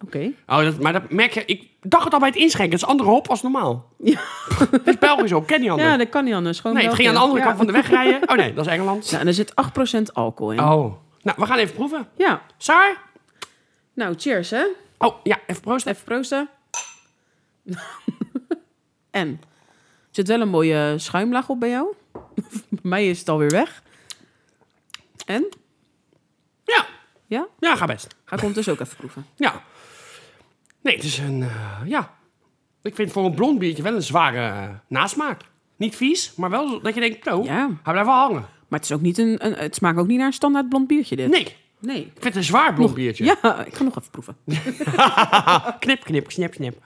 S1: Oké.
S2: Oh, dat, maar dat merk je... Ik dacht het al bij het inschenken. Het is andere hop als normaal.
S1: Ja.
S2: Dat is Belgisch ook. Ken je anders.
S1: Ja, dat kan niet anders. Gewoon
S2: nee, het ging aan
S1: België.
S2: de andere
S1: Ja.
S2: kant van de weg rijden. Oh nee, dat is Engeland.
S1: Ja, en er zit 8% alcohol in.
S2: Oh. Nou, we gaan even proeven.
S1: Ja.
S2: Saar?
S1: Nou, cheers hè.
S2: Oh, ja, even proosten.
S1: Even proosten. en? Er zit wel een mooie schuimlaag op bij jou. bij mij is het alweer weg. En?
S2: Ja.
S1: Ja?
S2: Ja, ga best.
S1: Ga ik ondertussen ook even proeven.
S2: Ja. Nee, het is een... eh, ja. Ik vind voor een blond biertje wel een zware eh, nasmaak. Niet vies, maar wel zo- dat je denkt, nou,
S1: Ja.
S2: hij blijft wel hangen.
S1: Maar het, is ook niet een, een, het smaakt ook niet naar een standaard blond biertje dit.
S2: Nee, ik
S1: Nee.
S2: vind het een zwaar blond biertje.
S1: Ja, ik ga nog even proeven.
S2: Knip, knip, snip, snip.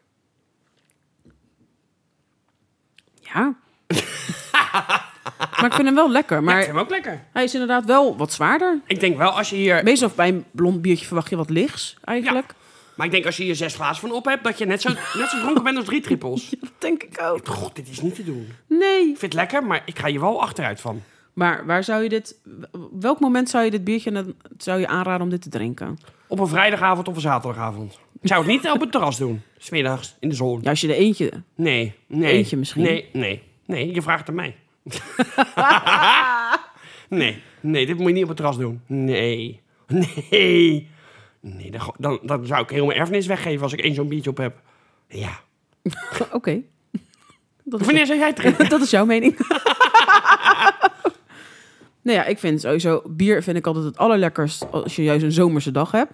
S1: Ja. maar ik vind hem wel lekker.
S2: Maar ik
S1: Maar
S2: vind hem ook lekker.
S1: hij is inderdaad wel wat zwaarder.
S2: Ik denk wel, als je hier...
S1: Meestal bij een blond biertje verwacht je wat lichts eigenlijk.
S2: Maar ik denk, als je hier zes glazen van op hebt, dat je net zo, net zo dronken bent als drie trippels.
S1: Ja, dat denk ik ook.
S2: God, dit is niet te doen.
S1: Nee.
S2: Ik vind het lekker, maar ik ga hier wel achteruit van.
S1: Maar waar zou je dit, op welk moment zou je dit biertje dan- zou je aanraden om dit te drinken?
S2: Op een vrijdagavond of een zaterdagavond. Ik zou het niet op het terras doen. Smiddags, in de zon.
S1: Ja, als je er eentje.
S2: Nee, nee.
S1: Eentje misschien.
S2: Nee, nee, nee. Je vraagt het aan mij. nee, nee, dit moet je niet op het terras doen. Nee, nee. Nee, dan, dan, dan zou ik heel mijn erfenis weggeven als ik één zo'n biertje op heb. Ja.
S1: Oké. Dat, is-
S2: Wanneer zou jij het drinken?
S1: dat is jouw mening. nou ja, ik vind sowieso bier vind ik altijd het allerlekkerst als je juist een zomerse dag hebt.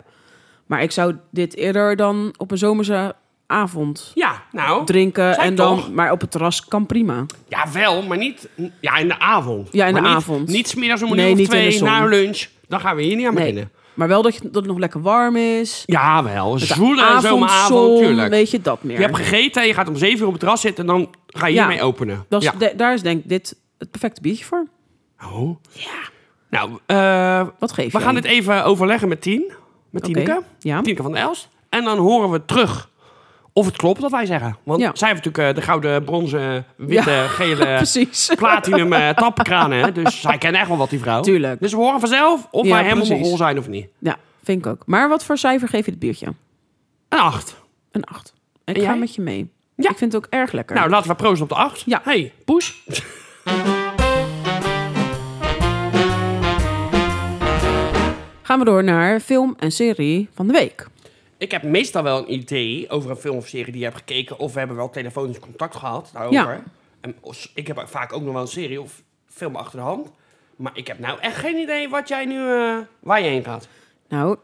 S1: Maar ik zou dit eerder dan op een zomerse avond
S2: Ja, nou.
S1: drinken
S2: Zei
S1: en
S2: ik
S1: dan,
S2: toch?
S1: maar op het terras kan prima.
S2: Ja, wel, maar niet... Ja, in de avond.
S1: Ja, in
S2: Maar
S1: de
S2: niet-
S1: avond.
S2: Niet smiddags om een
S1: Nee,
S2: uur of
S1: niet in de
S2: twee
S1: zon.
S2: na lunch. Dan gaan we hier niet aan
S1: Nee.
S2: beginnen.
S1: Maar wel dat, je, dat het nog lekker warm is.
S2: Ja, wel. Zwoele
S1: Avondzon,
S2: zomeravond, tuurlijk.
S1: weet je dat meer.
S2: Je hebt gegeten en je gaat om zeven uur op het terras zitten... en dan ga je
S1: Ja.
S2: hiermee openen.
S1: Dat is,
S2: ja.
S1: da- daar is denk ik dit het perfecte biertje voor.
S2: Oh. Nou, eh,
S1: Wat geef je?
S2: we gaan dit even overleggen met Tien. Met Tieneke.
S1: ja.
S2: Tieneke van de Elst. En dan horen we terug of het klopt wat wij zeggen. Want
S1: Ja.
S2: zij heeft natuurlijk eh, de gouden, bronzen, witte,
S1: Ja.
S2: gele,
S1: Precies.
S2: platinum eh, tapkranen. hè. Dus zij kent echt wel wat, die vrouw.
S1: Tuurrk.
S2: Dus we horen vanzelf of
S1: Ja,
S2: wij helemaal
S1: precies.
S2: mogol zijn of niet.
S1: Ja, vind ik ook. Maar wat voor cijfer geef je het biertje?
S2: Een acht.
S1: Een 8. Ik
S2: En
S1: ga
S2: jij?
S1: met je mee.
S2: Ja.
S1: Ik vind het ook erg lekker.
S2: Nou, laten we proosten op de acht.
S1: Ja.
S2: Hey, poes.
S1: Gaan we door naar film en serie van de week.
S2: Ik heb meestal wel een idee over een film of serie die je hebt gekeken. Of we hebben wel telefonisch contact gehad daarover.
S1: Ja.
S2: En als- ik heb vaak ook nog wel een serie of film achter de hand. Maar ik heb nou echt geen idee wat jij nu, eh, waar je heen gaat.
S1: Nou,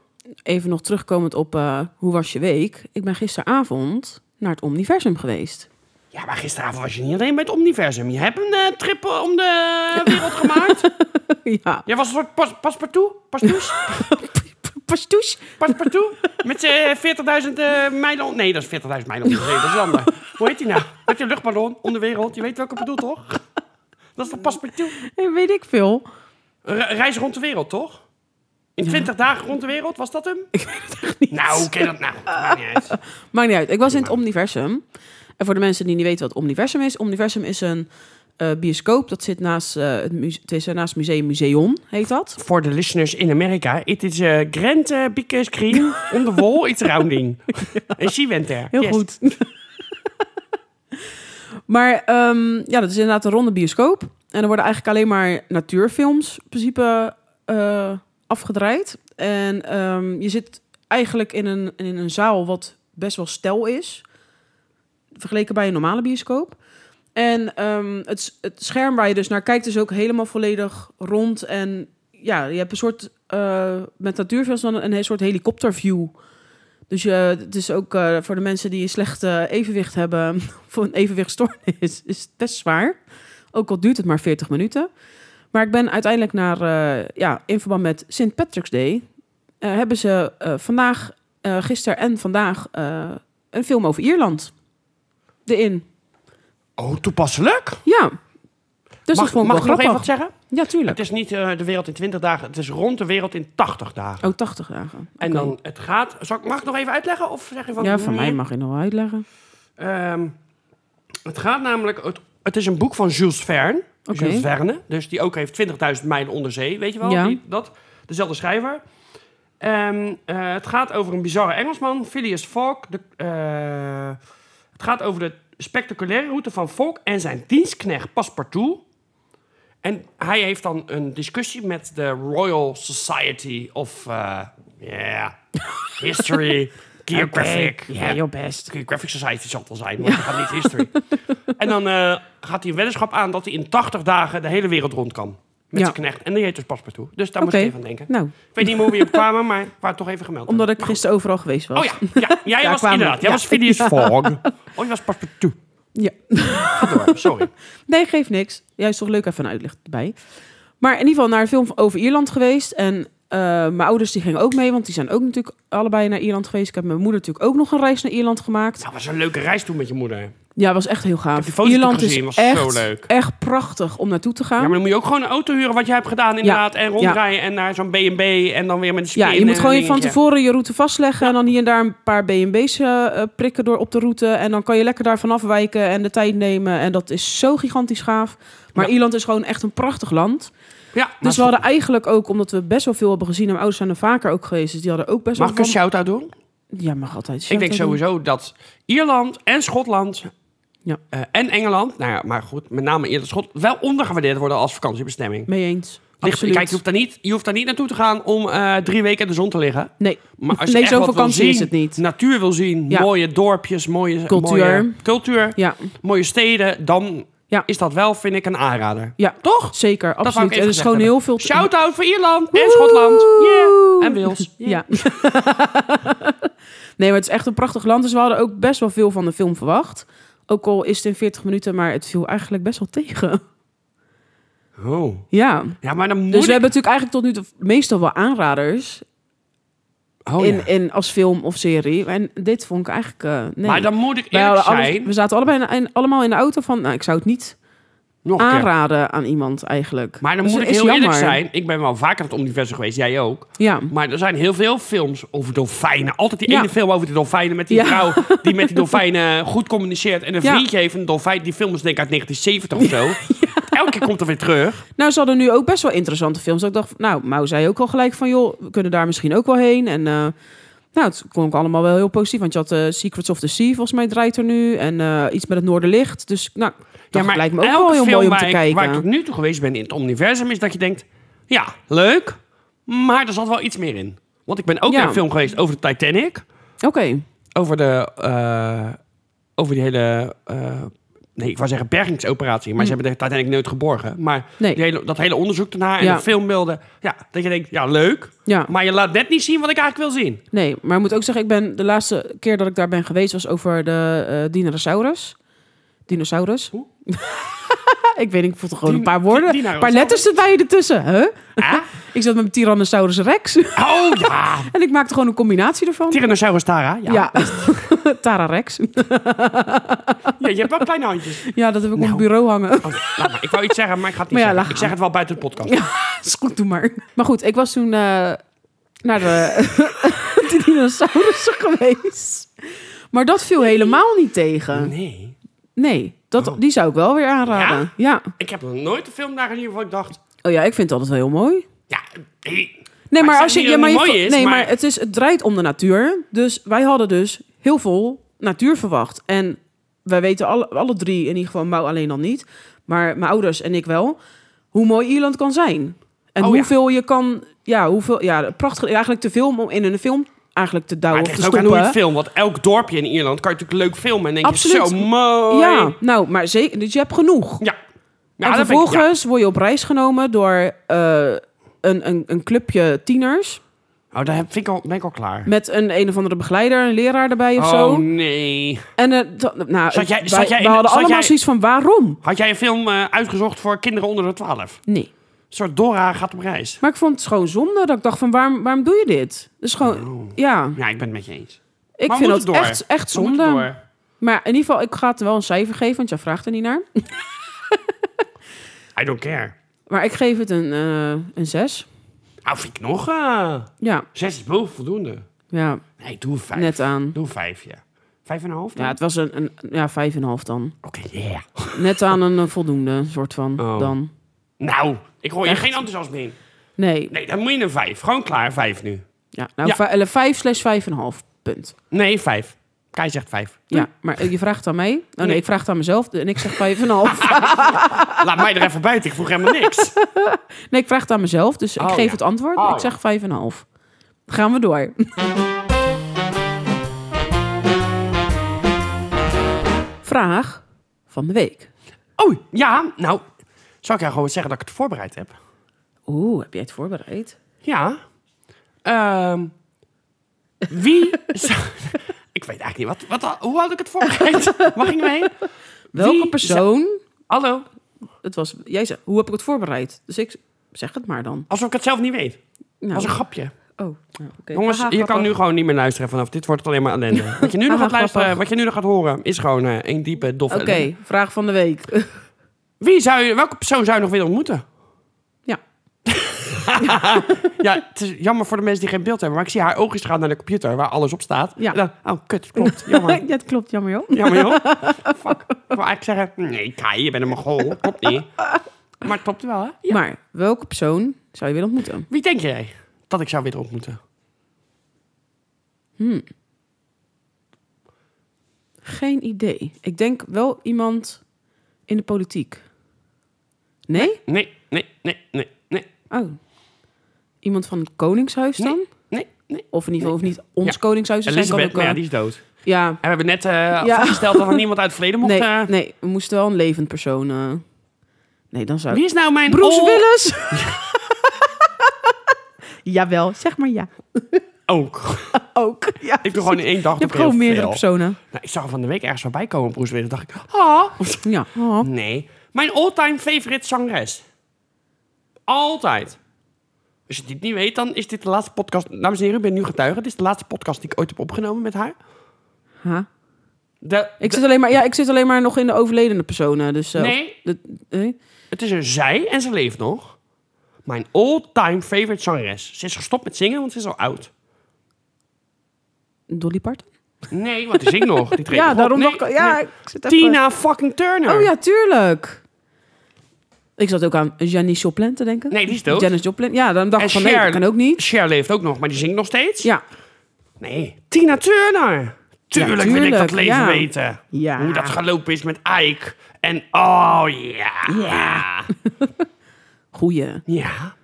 S1: even nog terugkomend op eh, hoe was je week. Ik ben gisteravond naar het Omniversum geweest.
S2: Ja, maar gisteravond was je niet alleen bij het Omniversum. Je hebt een eh, trip om de wereld gemaakt.
S1: ja.
S2: Jij was een soort pas, paspartout. Paspoes?
S1: Pastouche.
S2: Paspartout? Met z'n 40.000 eh, mijlen... on- Nee, dat is 40.000 mijlen onder zee. Dat is een ander. Hoe heet die nou? Met je luchtballon om de wereld. Je weet welke ik bedoel, toch? Dat is toch paspartout?
S1: Eh, Weet ik veel.
S2: Re- reis rond de wereld, toch? In 20 dagen rond de wereld, was dat hem?
S1: Ik weet het echt niet.
S2: Nou, hoe ken je dat nou? Maakt niet uit.
S1: Maakt niet uit. Ik was in het Omniversum. En voor de mensen die niet weten wat Omniversum is. Omniversum is een eh, bioscoop. Dat zit naast, eh, het, muse- het is, eh, naast Museum Museon, heet dat.
S2: Voor de listeners in Amerika, it is a grand uh, big screen on the wall, it's rounding. En she went there.
S1: Heel
S2: Yes.
S1: goed. maar ehm, ja, dat is inderdaad een ronde bioscoop. En er worden eigenlijk alleen maar natuurfilms in principe eh, afgedraaid. En ehm, je zit eigenlijk in een, in een zaal wat best wel stel is. Vergeleken bij een normale bioscoop. En ehm, het, s- het scherm waar je dus naar kijkt is ook helemaal volledig rond. En ja, je hebt een soort, eh, met natuurfilms dan een, een soort helikopterview dus je, het is ook eh, voor de mensen die een slecht eh, evenwicht hebben, voor een evenwichtstoornis, is het best zwaar. Ook al duurt het maar 40 minuten. Maar ik ben uiteindelijk naar, eh, ja, in verband met St. Patrick's Day, eh, hebben ze eh, vandaag, eh gisteren en vandaag eh, een film over Ierland erin.
S2: Oh, toepasselijk.
S1: Ja. Dus
S2: mag
S1: dat vond ik
S2: mag
S1: wel
S2: ik nog even
S1: grappig.
S2: wat zeggen?
S1: Ja,
S2: Het
S1: tuurlijk.
S2: is niet eh, de wereld in 20 dagen, het is rond de wereld in 80 dagen.
S1: Oh, 80 dagen.
S2: En
S1: Oké.
S2: dan, het gaat... Zal ik, mag ik nog even uitleggen? Of zeg je van...
S1: Ja, van
S2: nee?
S1: mij mag je nog wel uitleggen.
S2: Ehm, het gaat namelijk... Het, het is een boek van Jules Verne.
S1: Oké.
S2: Jules Verne. Dus die ook heeft 20.000 mijlen onder zee. Weet je wel?
S1: Ja.
S2: Die, dat, dezelfde schrijver. Ehm, eh, het gaat over een bizarre Engelsman, Phileas Fogg. De, eh, het gaat over de spectaculaire route van Fogg en zijn dienstknecht Passepartout. En hij heeft dan een discussie met de Royal Society of... eh, yeah, History, Geographic.
S1: Oké. Ja, jouw best.
S2: Graphic Graphic Society zal het wel zijn, want dat gaat niet history. en dan eh, gaat hij een weddenschap aan dat hij in 80 dagen de hele wereld rond kan.
S1: Ja.
S2: Met zijn knecht. En die heet dus Paspartout. Dus daar
S1: Oké.
S2: moet ik even aan denken.
S1: Nou,
S2: Ik weet niet meer hoe we op kwamen, maar ik wou het toch even gemeld.
S1: omdat
S2: hebben.
S1: ik gisteren overal geweest was.
S2: Oh ja, ja jij
S1: Daar
S2: was
S1: kwamen we.
S2: inderdaad. Jij
S1: Ja.
S2: was Phineas Fogg. Oh, je was Paspartout.
S1: Ja.
S2: Ga door, sorry.
S1: Nee, geeft niks. Juist toch leuk even een uitleg erbij. Maar in ieder geval naar een film over Ierland geweest. En eh, mijn ouders die gingen ook mee, want die zijn ook natuurlijk allebei naar Ierland geweest. Ik heb met mijn moeder natuurlijk ook nog een reis naar Ierland gemaakt.
S2: Nou, was een leuke reis toen met je moeder.
S1: Ja, was echt heel gaaf.
S2: heb die foto's
S1: Ierland
S2: natuurlijk
S1: is
S2: gezien, was
S1: echt,
S2: zo leuk.
S1: echt prachtig om naartoe te
S2: Ja,
S1: gaan.
S2: maar dan moet je ook gewoon een auto huren wat je hebt gedaan inderdaad. En rondrijden en naar zo'n B&B en dan weer met een spin.
S1: Ja, je moet
S2: en
S1: gewoon
S2: een
S1: je van
S2: dingetje.
S1: tevoren je route vastleggen. En dan hier en daar een paar BNB's eh, eh, prikken door op de route. En dan kan je lekker daarvan afwijken en de tijd nemen. En dat is zo gigantisch gaaf. Maar
S2: Ja.
S1: Ierland is gewoon echt een prachtig land.
S2: Ja, maar
S1: Dus we hadden eigenlijk ook, omdat we best wel veel hebben gezien... en mijn ouders zijn er vaker ook geweest, dus die hadden ook best
S2: Mag
S1: wel...
S2: ik een
S1: van-
S2: shout-out doen?
S1: Ja, mag altijd.
S2: Ik denk sowieso dat Ierland en Schotland
S1: Ja.
S2: eh, en Engeland, nou ja, maar goed, met name Ierland en Schotland, wel ondergewaardeerd worden als vakantiebestemming.
S1: Mee eens.
S2: Ligt-
S1: Absoluut.
S2: kijk, je hoeft, daar niet, je hoeft daar niet naartoe te gaan om eh, drie weken in de zon te liggen.
S1: Nee,
S2: Maar als je
S1: nee
S2: echt
S1: zo'n
S2: wat wil
S1: vakantie is
S2: zien,
S1: het niet.
S2: Natuur wil zien,
S1: Ja.
S2: mooie dorpjes, mooie
S1: Cultuur.
S2: mooie, cultuur,
S1: Ja,
S2: mooie steden, dan
S1: Ja.
S2: is dat wel, vind ik, een aanrader.
S1: ja
S2: Toch?
S1: zeker.
S2: wou ik
S1: Absoluut.
S2: even
S1: Er is
S2: gezegd
S1: gewoon
S2: hebben.
S1: heel veel...
S2: Shout-out voor Ierland en
S1: Dus- Woehoe!
S2: Schotland. Yeah. En Wales. Yeah.
S1: Ja. nee, maar het is echt een prachtig land. Dus we hadden ook best wel veel van de film verwacht. Ook al is het in 40 minuten, maar het viel eigenlijk best wel tegen.
S2: Oh.
S1: Ja.
S2: Ja, maar dan moet
S1: Dus we
S2: ik-
S1: hebben natuurlijk eigenlijk tot nu toe meestal wel aanraders...
S2: Oh, ja.
S1: in, in, als film of serie. En dit vond ik eigenlijk... eh, nee.
S2: Maar dan moet ik
S1: Wij
S2: eerlijk
S1: hadden alles-
S2: zijn.
S1: we zaten allebei in, in- allemaal in de auto van... Nou, ik zou het niet
S2: Nog een keer.
S1: aanraden aan iemand eigenlijk.
S2: Maar dan
S1: Dus
S2: moet ik
S1: dat
S2: heel
S1: is
S2: eerlijk
S1: jammer.
S2: zijn. Ik ben wel vaker het universum geweest, jij ook.
S1: Ja,
S2: Maar er zijn heel veel films over dolfijnen. Altijd die
S1: Ja.
S2: ene film over de dolfijnen met die
S1: Ja.
S2: vrouw die met die dolfijnen goed communiceert. En een
S1: Ja.
S2: vriendje heeft een dolfijn. Die film is denk ik uit 1970 of zo. Elke keer komt er weer terug.
S1: nou ze hadden nu ook best wel interessante films. Dat ik dacht, nou, Mau zei ook al gelijk van... joh, we kunnen daar misschien ook wel heen. En eh, nou, het klonk allemaal wel heel positief. Want je had eh, Secrets of the Sea, volgens mij draait er nu. En eh, iets met het Noorderlicht. Dus nou, dat lijkt me ook wel heel mooi om
S2: waar
S1: te
S2: ik,
S1: kijken.
S2: waar ik tot nu toe geweest ben in het universum is dat je denkt... Ja, leuk, maar er zat wel iets meer in. Want ik ben ook
S1: Ja.
S2: in een film geweest over de Titanic.
S1: Oké,
S2: Over de... eh, over die hele... eh, nee, ik wou zeggen bergingsoperatie. Maar ze hebben de Titanic nooit geborgen. Maar
S1: Mm. nee,
S2: Die hele- dat hele onderzoek daarna en
S1: Ja.
S2: de filmbeelden. Ja, dat je denkt, ja, leuk.
S1: ja.
S2: Maar je laat net niet zien wat ik eigenlijk wil zien.
S1: Nee, maar ik moet ook zeggen, ik ben de laatste keer dat ik daar ben geweest was over de eh, dinosaurus. Dinosaurus.
S2: Hoe?
S1: ik weet niet, ik voelde gewoon een
S2: Din-
S1: paar woorden.
S2: di-
S1: Een paar
S2: dinosaurus.
S1: letters erbij ertussen. Huh?
S2: Ah?
S1: Ik zat met mijn Tyrannosaurus Rex
S2: Oh ja!
S1: en ik maakte gewoon een combinatie ervan.
S2: Tyrannosaurus Tara. Ja.
S1: ja, Tara Rex.
S2: Ja, je hebt wel kleine handjes.
S1: ja, dat heb ik op
S2: Nou.
S1: mijn bureau hangen.
S2: Oh, laat maar. Ik wou iets zeggen, maar ik ga het niet
S1: Maar ja,
S2: zeggen.
S1: laat
S2: Ik zeg het wel buiten de podcast.
S1: Ja. Is goed, doe maar. Maar goed, ik was toen eh, naar de, de dinosaurussen geweest. Maar dat viel helemaal niet tegen.
S2: Nee.
S1: Nee, dat,
S2: Oh.
S1: die zou ik wel weer aanraden. Ja.
S2: Ik heb nog nooit een film daar gezien waarvan ik dacht...
S1: Oh ja, ik vind het altijd wel heel mooi.
S2: Ja, hey,
S1: Nee,
S2: Maar
S1: maar,
S2: ik
S1: als je.
S2: zeg niet
S1: Ja,
S2: dat
S1: maar
S2: het
S1: je
S2: niet mooi
S1: vo-
S2: is,
S1: nee, maar,
S2: maar-
S1: het, is, het draait om de natuur. Dus wij hadden dus heel veel natuur verwacht. En wij weten alle, alle drie, in ieder geval Mouw alleen dan niet. Maar mijn ouders en ik wel. Hoe mooi Ierland kan zijn. En
S2: Oh, ja.
S1: hoeveel je kan. Ja, hoeveel. Ja, prachtig. Eigenlijk te veel om in een film eigenlijk te
S2: maar
S1: douwen
S2: het
S1: of te
S2: ligt ook aan hoe je het
S1: stoppen.
S2: filmt. Want elk dorpje in Ierland kan je natuurlijk leuk filmen. En denk
S1: Absoluut.
S2: je, zo mooi.
S1: Ja, nou, maar zeker. Dus je hebt genoeg.
S2: Ja.
S1: en
S2: Ja, dat vind ik- ja.
S1: vervolgens word je op reis genomen door eh, een, een, een clubje tieners.
S2: Oh, daar heb- vind ik al, ben ik al klaar.
S1: Met een een of andere begeleider, een leraar erbij of
S2: oh,
S1: zo.
S2: nee.
S1: En eh, dat- nou,
S2: Zat jij-
S1: wij,
S2: zat jij
S1: wij
S2: in-
S1: hadden
S2: zat
S1: allemaal
S2: jij-
S1: zoiets van waarom?
S2: Had jij een film eh, uitgezocht voor kinderen onder de 12? Een
S1: Nee.
S2: soort Dora gaat op reis.
S1: Maar ik vond het gewoon zonde dat ik dacht van waarom, waarom doe je dit? Dus gewoon, ja,
S2: Oh. Ja, ik ben het met je eens.
S1: ik
S2: Maar we
S1: vind
S2: moeten
S1: het
S2: door.
S1: echt, echt
S2: We moeten
S1: zonde.
S2: door.
S1: Maar in ieder geval, ik ga het wel een cijfer geven, want jij vraagt er niet naar.
S2: I don't care.
S1: Maar ik geef het een, eh een 6.
S2: Nou, vind ik nog... eh
S1: Ja,
S2: zes is boven voldoende.
S1: ja,
S2: Nee, doe een vijf.
S1: net aan.
S2: Doe een vijf, ja. Vijf en een half? dan?
S1: Ja, het was een, een ja, 5,5 dan.
S2: Oké, yeah.
S1: Net aan een eh, voldoende soort van
S2: Oh.
S1: dan.
S2: Nou, ik hoor je
S1: Echt?
S2: geen enthousiasme in.
S1: Nee,
S2: Nee, dan moet je een vijf. Gewoon klaar, vijf nu.
S1: ja, nou
S2: Ja.
S1: vij- eh, 5 slash 5,5 punt.
S2: Nee, vijf. Kai zegt vijf.
S1: Ja, maar je vraagt het aan mij. Oh nee,
S2: Nee.
S1: ik vraag het aan mezelf en ik zeg 5,5.
S2: Laat mij er even buiten, ik vroeg helemaal niks.
S1: Nee, ik vraag het aan mezelf, dus ik
S2: Oh,
S1: geef
S2: ja.
S1: het antwoord.
S2: Oh,
S1: ik zeg 5,5. Gaan we door. Vraag van de week.
S2: Oh, ja, nou, zou ik jou gewoon zeggen dat ik het voorbereid heb?
S1: Oeh, heb jij het voorbereid?
S2: Ja. Ehm, wie zou... Ik weet eigenlijk niet, wat, wat, hoe had ik het voorbereid? Waar gingen we heen?
S1: Welke
S2: zou-
S1: persoon?
S2: Hallo,
S1: Het was, jij zei, hoe heb ik het voorbereid? Dus ik zeg het maar dan.
S2: alsof ik het zelf niet weet.
S1: Nou,
S2: Dat was een grapje.
S1: oh, nou, oké.
S2: Jongens,
S1: Haha,
S2: je kan
S1: grappig.
S2: nu gewoon niet meer luisteren vanaf. Dit wordt alleen maar ellende. Wat je nu nog
S1: Haha,
S2: gaat luisteren,
S1: grappig.
S2: wat je nu nog gaat horen, is gewoon eh, een diepe, doffe
S1: Oké,
S2: ellende.
S1: vraag van de week.
S2: Wie zou je, welke persoon zou je nog willen ontmoeten?
S1: Ja.
S2: ja, het is jammer voor de mensen die geen beeld hebben, maar ik zie haar oogjes gaan naar de computer waar alles op staat.
S1: Ja.
S2: En dan, oh, kut, klopt. Jammer.
S1: ja, het klopt, jammer joh.
S2: jammer, joh. Fuck. Ik wil eigenlijk zeggen, nee, Kai, je bent een mogol. Klopt niet. Maar het klopt wel, hè? Ja.
S1: Maar welke persoon zou je willen ontmoeten?
S2: Wie denk jij dat ik zou willen ontmoeten?
S1: Geen idee. Ik denk wel iemand in de politiek. Nee?
S2: Nee, nee, nee, nee, nee,
S1: Oh. Iemand van het Koningshuis dan?
S2: nee, nee.
S1: Of in ieder geval, of niet ons
S2: Ja.
S1: Koningshuis. te zijn, kan
S2: Elisabeth,
S1: ook
S2: maar ja,
S1: wel-
S2: die is dood.
S1: ja.
S2: En we hebben net eh
S1: Ja.
S2: vastgesteld dat er niemand uit het verleden mocht...
S1: Nee,
S2: eh,
S1: nee, we moesten wel een levend persoon. eh. Nee, dan zou ik...
S2: Wie is nou mijn...
S1: Bruce
S2: all-
S1: Willis! Jawel, zeg maar ja.
S2: Ook.
S1: Ook. Ja,
S2: Oh, Ik doe gewoon in één dag
S1: Je hebt gewoon meerdere personen.
S2: Nou, ik zag hem van de week ergens voorbij komen, Bruce Willis. dacht ik, ah,
S1: Ja. Oh.
S2: nee. Mijn all-time favorite zangeres. Altijd. Als je dit niet weet, dan is dit de laatste podcast. Dames en heren, ik ben nu getuige. Dit is de laatste podcast die ik ooit heb opgenomen met haar.
S1: Ha.
S2: De,
S1: Ik,
S2: de-
S1: zit alleen maar, ja, ik zit alleen maar nog in de overledene personen. Dus, eh,
S2: nee,
S1: dat- nee?
S2: het is een zij en ze leeft nog. Mijn all-time favorite zangeres. Ze is gestopt met zingen, want ze is al oud.
S1: Dolly Parton?
S2: Nee, want die zingt nog. Die treedt nog
S1: Ja,
S2: op.
S1: daarom
S2: Nee,
S1: dacht ik... Ja,
S2: nee.
S1: ik zit even...
S2: Tina fucking Turner.
S1: Oh ja, tuurlijk. Ik zat ook aan Janice Joplin te denken.
S2: Nee, die is dood.
S1: Janis Joplin. Ja, dan dacht
S2: En
S1: ik van nee,
S2: Cher-
S1: dat kan ook niet.
S2: Cher leeft ook nog, maar die zingt nog steeds.
S1: Ja.
S2: Nee, Tina Turner. Tuurlijk, wil ik
S1: tuurlijk,
S2: dat leven
S1: ja.
S2: weten.
S1: Ja.
S2: Hoe dat gelopen is met Ike. En oh ja. Ja.
S1: Goeie.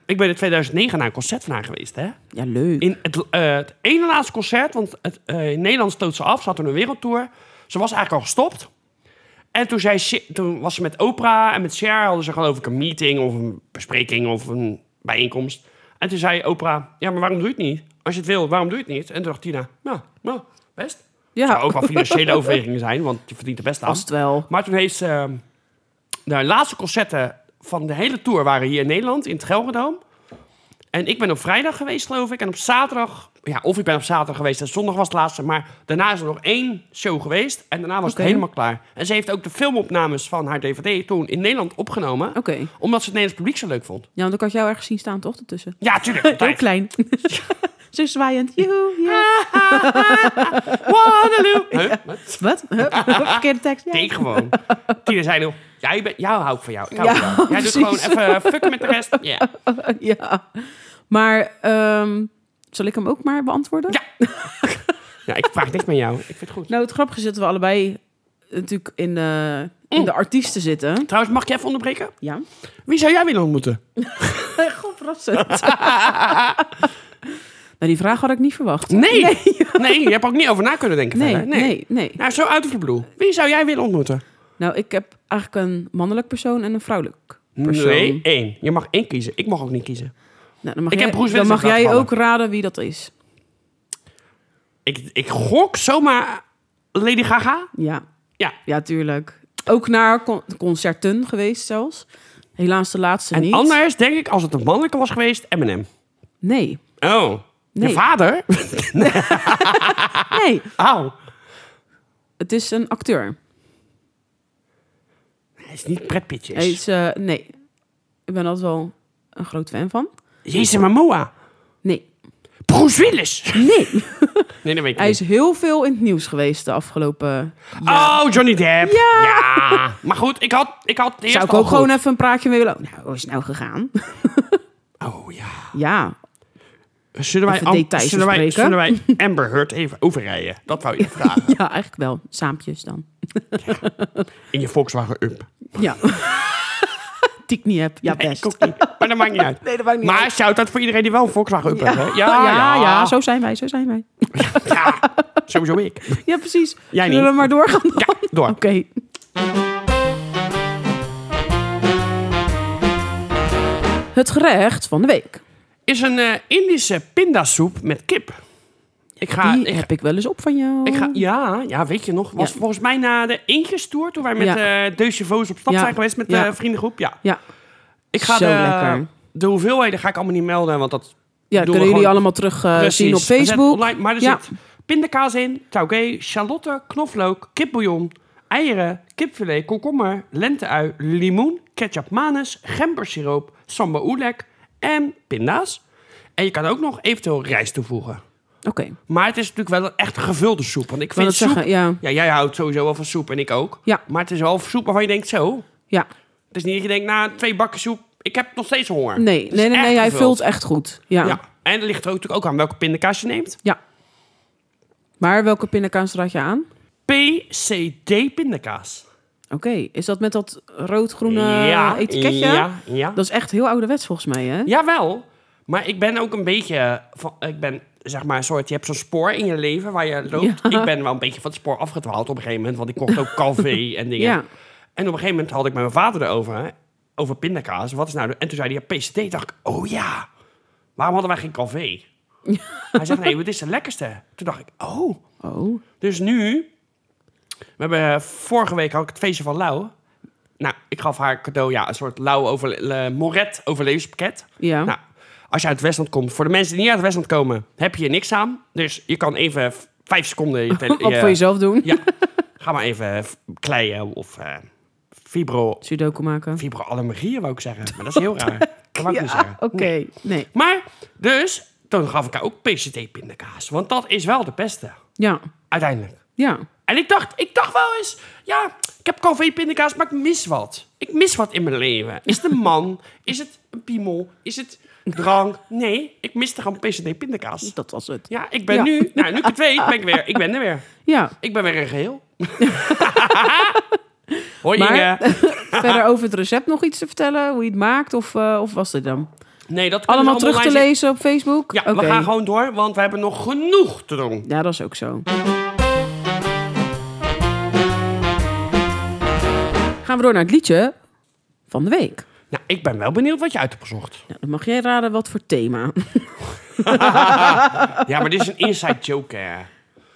S2: Ik ben in 2009 naar een concert van haar geweest, hè?
S1: Ja, leuk.
S2: In het, eh, het ene laatste concert, want het, eh, in Nederland stoot ze af. Ze had toen een wereldtour. Ze was eigenlijk al gestopt. En toen, zei, Cher- toen was ze met Oprah en met Cher. Hadden ze geloof ik een meeting of een bespreking of een bijeenkomst. En toen zei Oprah, ja, maar waarom doe je het niet? Als je het wil, waarom doe je het niet? En toen dacht Tina, nou, nou, best.
S1: ja,
S2: zou ook wel financiële overwegingen zijn, want je verdient er best aan.
S1: Nou. vast wel.
S2: Maar toen heeft ze... ehm, de laatste concerten van de hele tour waren hier in Nederland, in het Gelredome. En ik ben op vrijdag geweest, geloof ik. En op zaterdag... Ja, of ik ben op zaterdag geweest en zondag was het laatste. Maar daarna is er nog één show geweest. En daarna was
S1: Oké.
S2: het helemaal klaar. En ze heeft ook de filmopnames van haar DVD toen in Nederland opgenomen.
S1: Oké.
S2: Omdat ze het Nederlands publiek zo leuk vond.
S1: Ja, want ik had jou ergens zien staan, toch? Ertussen.
S2: Ja, tuurlijk.
S1: Heel
S2: altijd.
S1: klein. zo zwaaiend. Joehoe, ja.
S2: Waterloo. Huh? Wat?
S1: Wat? Hup, hup, verkeerde tekst. Ja.
S2: Tegen gewoon. Tina zei nog, jij ben, jou hou ik van jou. Ik hou
S1: Ja,
S2: van jou. Jij doet gewoon
S1: precies.
S2: even eh, fucken met de rest. Ja.
S1: ja. Maar ehm, zal ik hem ook maar beantwoorden?
S2: Ja. ja, ik vraag niks met jou. Ik vind het goed.
S1: Nou, het grappige is dat we allebei natuurlijk in, eh, in
S2: Mm.
S1: de artiesten zitten.
S2: Trouwens, mag ik je even onderbreken?
S1: Ja.
S2: Wie zou jij willen ontmoeten?
S1: Gewoon verrassend. nou, die vraag had ik niet verwacht.
S2: Nee.
S1: Nee,
S2: Nee, je hebt er ook niet over na kunnen denken
S1: nee,
S2: verder.
S1: nee. nee,
S2: Nou, zo uit of the blue. Wie zou jij willen ontmoeten?
S1: Nou, ik heb eigenlijk een mannelijk persoon en een vrouwelijk persoon.
S2: Nee, één. Je mag één kiezen. Ik mag ook niet kiezen.
S1: Nou, dan mag
S2: Ik
S1: jij,
S2: heb Bruce
S1: dan
S2: Willis
S1: mag jij
S2: laten
S1: ook raden wie dat is.
S2: Ik, ik gok zomaar Lady Gaga.
S1: Ja.
S2: Ja.
S1: Ja, tuurlijk. Ook naar con- concerten geweest zelfs. Helaas de laatste
S2: En
S1: niet.
S2: anders denk ik, als het een mannelijke was geweest, Eminem.
S1: Nee.
S2: Oh.
S1: Nee.
S2: Je vader?
S1: Nee.
S2: Au.
S1: Het is een acteur.
S2: Hij is niet pretpitjes.
S1: Hij is, eh, nee. Ik ben altijd wel een groot fan van.
S2: Jezus Momoa.
S1: Nee.
S2: Bruce Willis.
S1: Nee.
S2: Nee, dat weet ik
S1: Hij
S2: niet.
S1: is heel veel in het nieuws geweest de afgelopen jaren.
S2: Oh, Johnny Depp.
S1: Ja.
S2: Maar goed, ik had, ik had eerst
S1: Zou ik
S2: al
S1: ook
S2: goed.
S1: gewoon even een praatje mee willen? Nou, hoe is het nou gegaan?
S2: Oh ja.
S1: ja.
S2: Zullen wij,
S1: Even
S2: Am-
S1: details
S2: zullen wij,
S1: bespreken.
S2: zullen wij Amber Heard even overrijden? Dat wou je vragen.
S1: Ja, eigenlijk wel. Saampjes dan.
S2: In je Volkswagen Up.
S1: Ja. Die ik niet heb. Ja,
S2: Nee,
S1: best.
S2: ik ook niet. Maar dat maakt niet uit.
S1: Nee, dat maakt niet
S2: maar
S1: uit.
S2: shout-out voor iedereen die wel een Volkswagen Up heeft. hè?
S1: Ah, ja,
S2: Ja, ja,
S1: ja, zo zijn wij, zo zijn wij.
S2: Ja, sowieso ik.
S1: Ja, precies.
S2: Jij
S1: Zullen
S2: niet.
S1: we maar doorgaan? dan?
S2: Ja, door.
S1: Oké. Het gerecht van de week.
S2: Is een eh, Indische pindasoep met kip. Ik ga,
S1: Die
S2: ik, ga-
S1: heb ik wel eens op van jou.
S2: ik ga, ja, ja, weet je nog? Was
S1: Mm. Ja.
S2: volgens mij na de Injes tour, toen wij met
S1: Ja.
S2: eh Deusje Voos op stap
S1: Ja.
S2: zijn geweest met de
S1: Ja.
S2: vriendengroep. Ja.
S1: Ja,
S2: Ik ga
S1: Zo
S2: de,
S1: lekker.
S2: de hoeveelheden ga ik allemaal niet melden, want dat
S1: ja
S2: Doen we
S1: kunnen jullie
S2: gewoon-
S1: allemaal terug eh,
S2: precies.
S1: zien op
S2: We zetten
S1: Facebook.
S2: Online, maar er
S1: Ja.
S2: zit pindakaas in, taugé, charlotte, knoflook, kipbouillon, eieren, kipfilet, komkommer, lenteui, limoen, ketchup manis, gembersiroop, sambal oelek en pinda's. En je kan ook nog eventueel rijst toevoegen.
S1: Oké,
S2: Maar het is natuurlijk wel een echt gevulde soep. Want ik
S1: wil
S2: vind
S1: dat
S2: soep...
S1: zeggen, ja.
S2: Ja, jij houdt sowieso wel van soep en ik ook.
S1: Ja.
S2: Maar het is wel soep waarvan je denkt zo.
S1: Ja,
S2: Het is niet dat je denkt, na twee bakken soep, ik heb nog steeds honger.
S1: nee,
S2: Het is
S1: nee, nee,
S2: echt
S1: nee hij
S2: gevuld.
S1: vult echt goed. Ja.
S2: Ja.
S1: ja.
S2: En dat ligt er ook natuurlijk ook aan welke pindakaas je neemt.
S1: Maar welke pindakaas raad je aan?
S2: PCD pindakaas.
S1: Oké, is dat met dat rood-groene eh, etiketje?
S2: Ja, ja.
S1: Dat is echt heel ouderwets volgens mij, hè?
S2: Jawel, maar ik ben ook een beetje van... Ik ben, zeg maar, een soort... Je hebt zo'n spoor in je leven waar je loopt. Ik ben wel een beetje van het spoor afgedwaald op een gegeven moment. Want ik kocht ook calvé en dingen.
S1: Ja.
S2: En op een gegeven moment had ik met mijn vader erover. hè, Over pindakaas. Wat is nou... de- En toen zei hij, ja, PCD. dacht ik, oh ja. Waarom hadden wij geen calvé? Hij zegt, nee, dit is de lekkerste. Toen dacht ik, oh...
S1: Oh,
S2: Dus nu, we hebben eh, vorige week had ik het feestje van Lau. Nou, ik gaf haar cadeau, ja, een soort Lau over, le- Moret overlevingspakket.
S1: ja.
S2: Nou, als je uit het Westland komt, voor de mensen die niet uit het Westland komen, heb je hier niks aan. Dus je kan even v- vijf seconden je tele-
S1: Wat voor jezelf doen.
S2: Ja, ga maar even v- kleien of eh, fibro,
S1: Sudoku maken.
S2: fibroallergieën wou ik zeggen. Maar dat is heel raar. Dat wou ik niet zeggen.
S1: Oké, nee.
S2: Maar, dus, toen gaf ik haar ook PCT-pindakaas. Want dat is wel de beste,
S1: Ja,
S2: uiteindelijk.
S1: ja.
S2: En ik dacht, ik dacht wel eens, ja, ik heb café pindakaas, maar ik mis wat. Ik mis wat in mijn leven. Is het een man? Is het een piemel? Is het drank? Nee, ik miste gewoon PCD pindakaas.
S1: Dat was het.
S2: Ja, ik ben
S1: Ja.
S2: nu, nou, nu ik het weet, ben ik weer, ik ben er weer.
S1: Ja,
S2: Ik ben weer een geheel. Hoi
S1: Maar-
S2: Inge.
S1: verder over het recept nog iets te vertellen? Hoe je het maakt? Of, eh, of was dit dan?
S2: Nee, dat kunnen ze
S1: Allemaal terug te
S2: dus online zien.
S1: lezen op Facebook?
S2: Ja,
S1: Oké.
S2: we gaan gewoon door, want we hebben nog genoeg te doen.
S1: Ja, dat is ook zo. Gaan we door naar het liedje van de week.
S2: Nou, ik ben wel benieuwd wat je uit hebt gezocht.
S1: Nou, dan mag jij raden wat voor thema.
S2: Ja, maar dit is een inside joke, hè.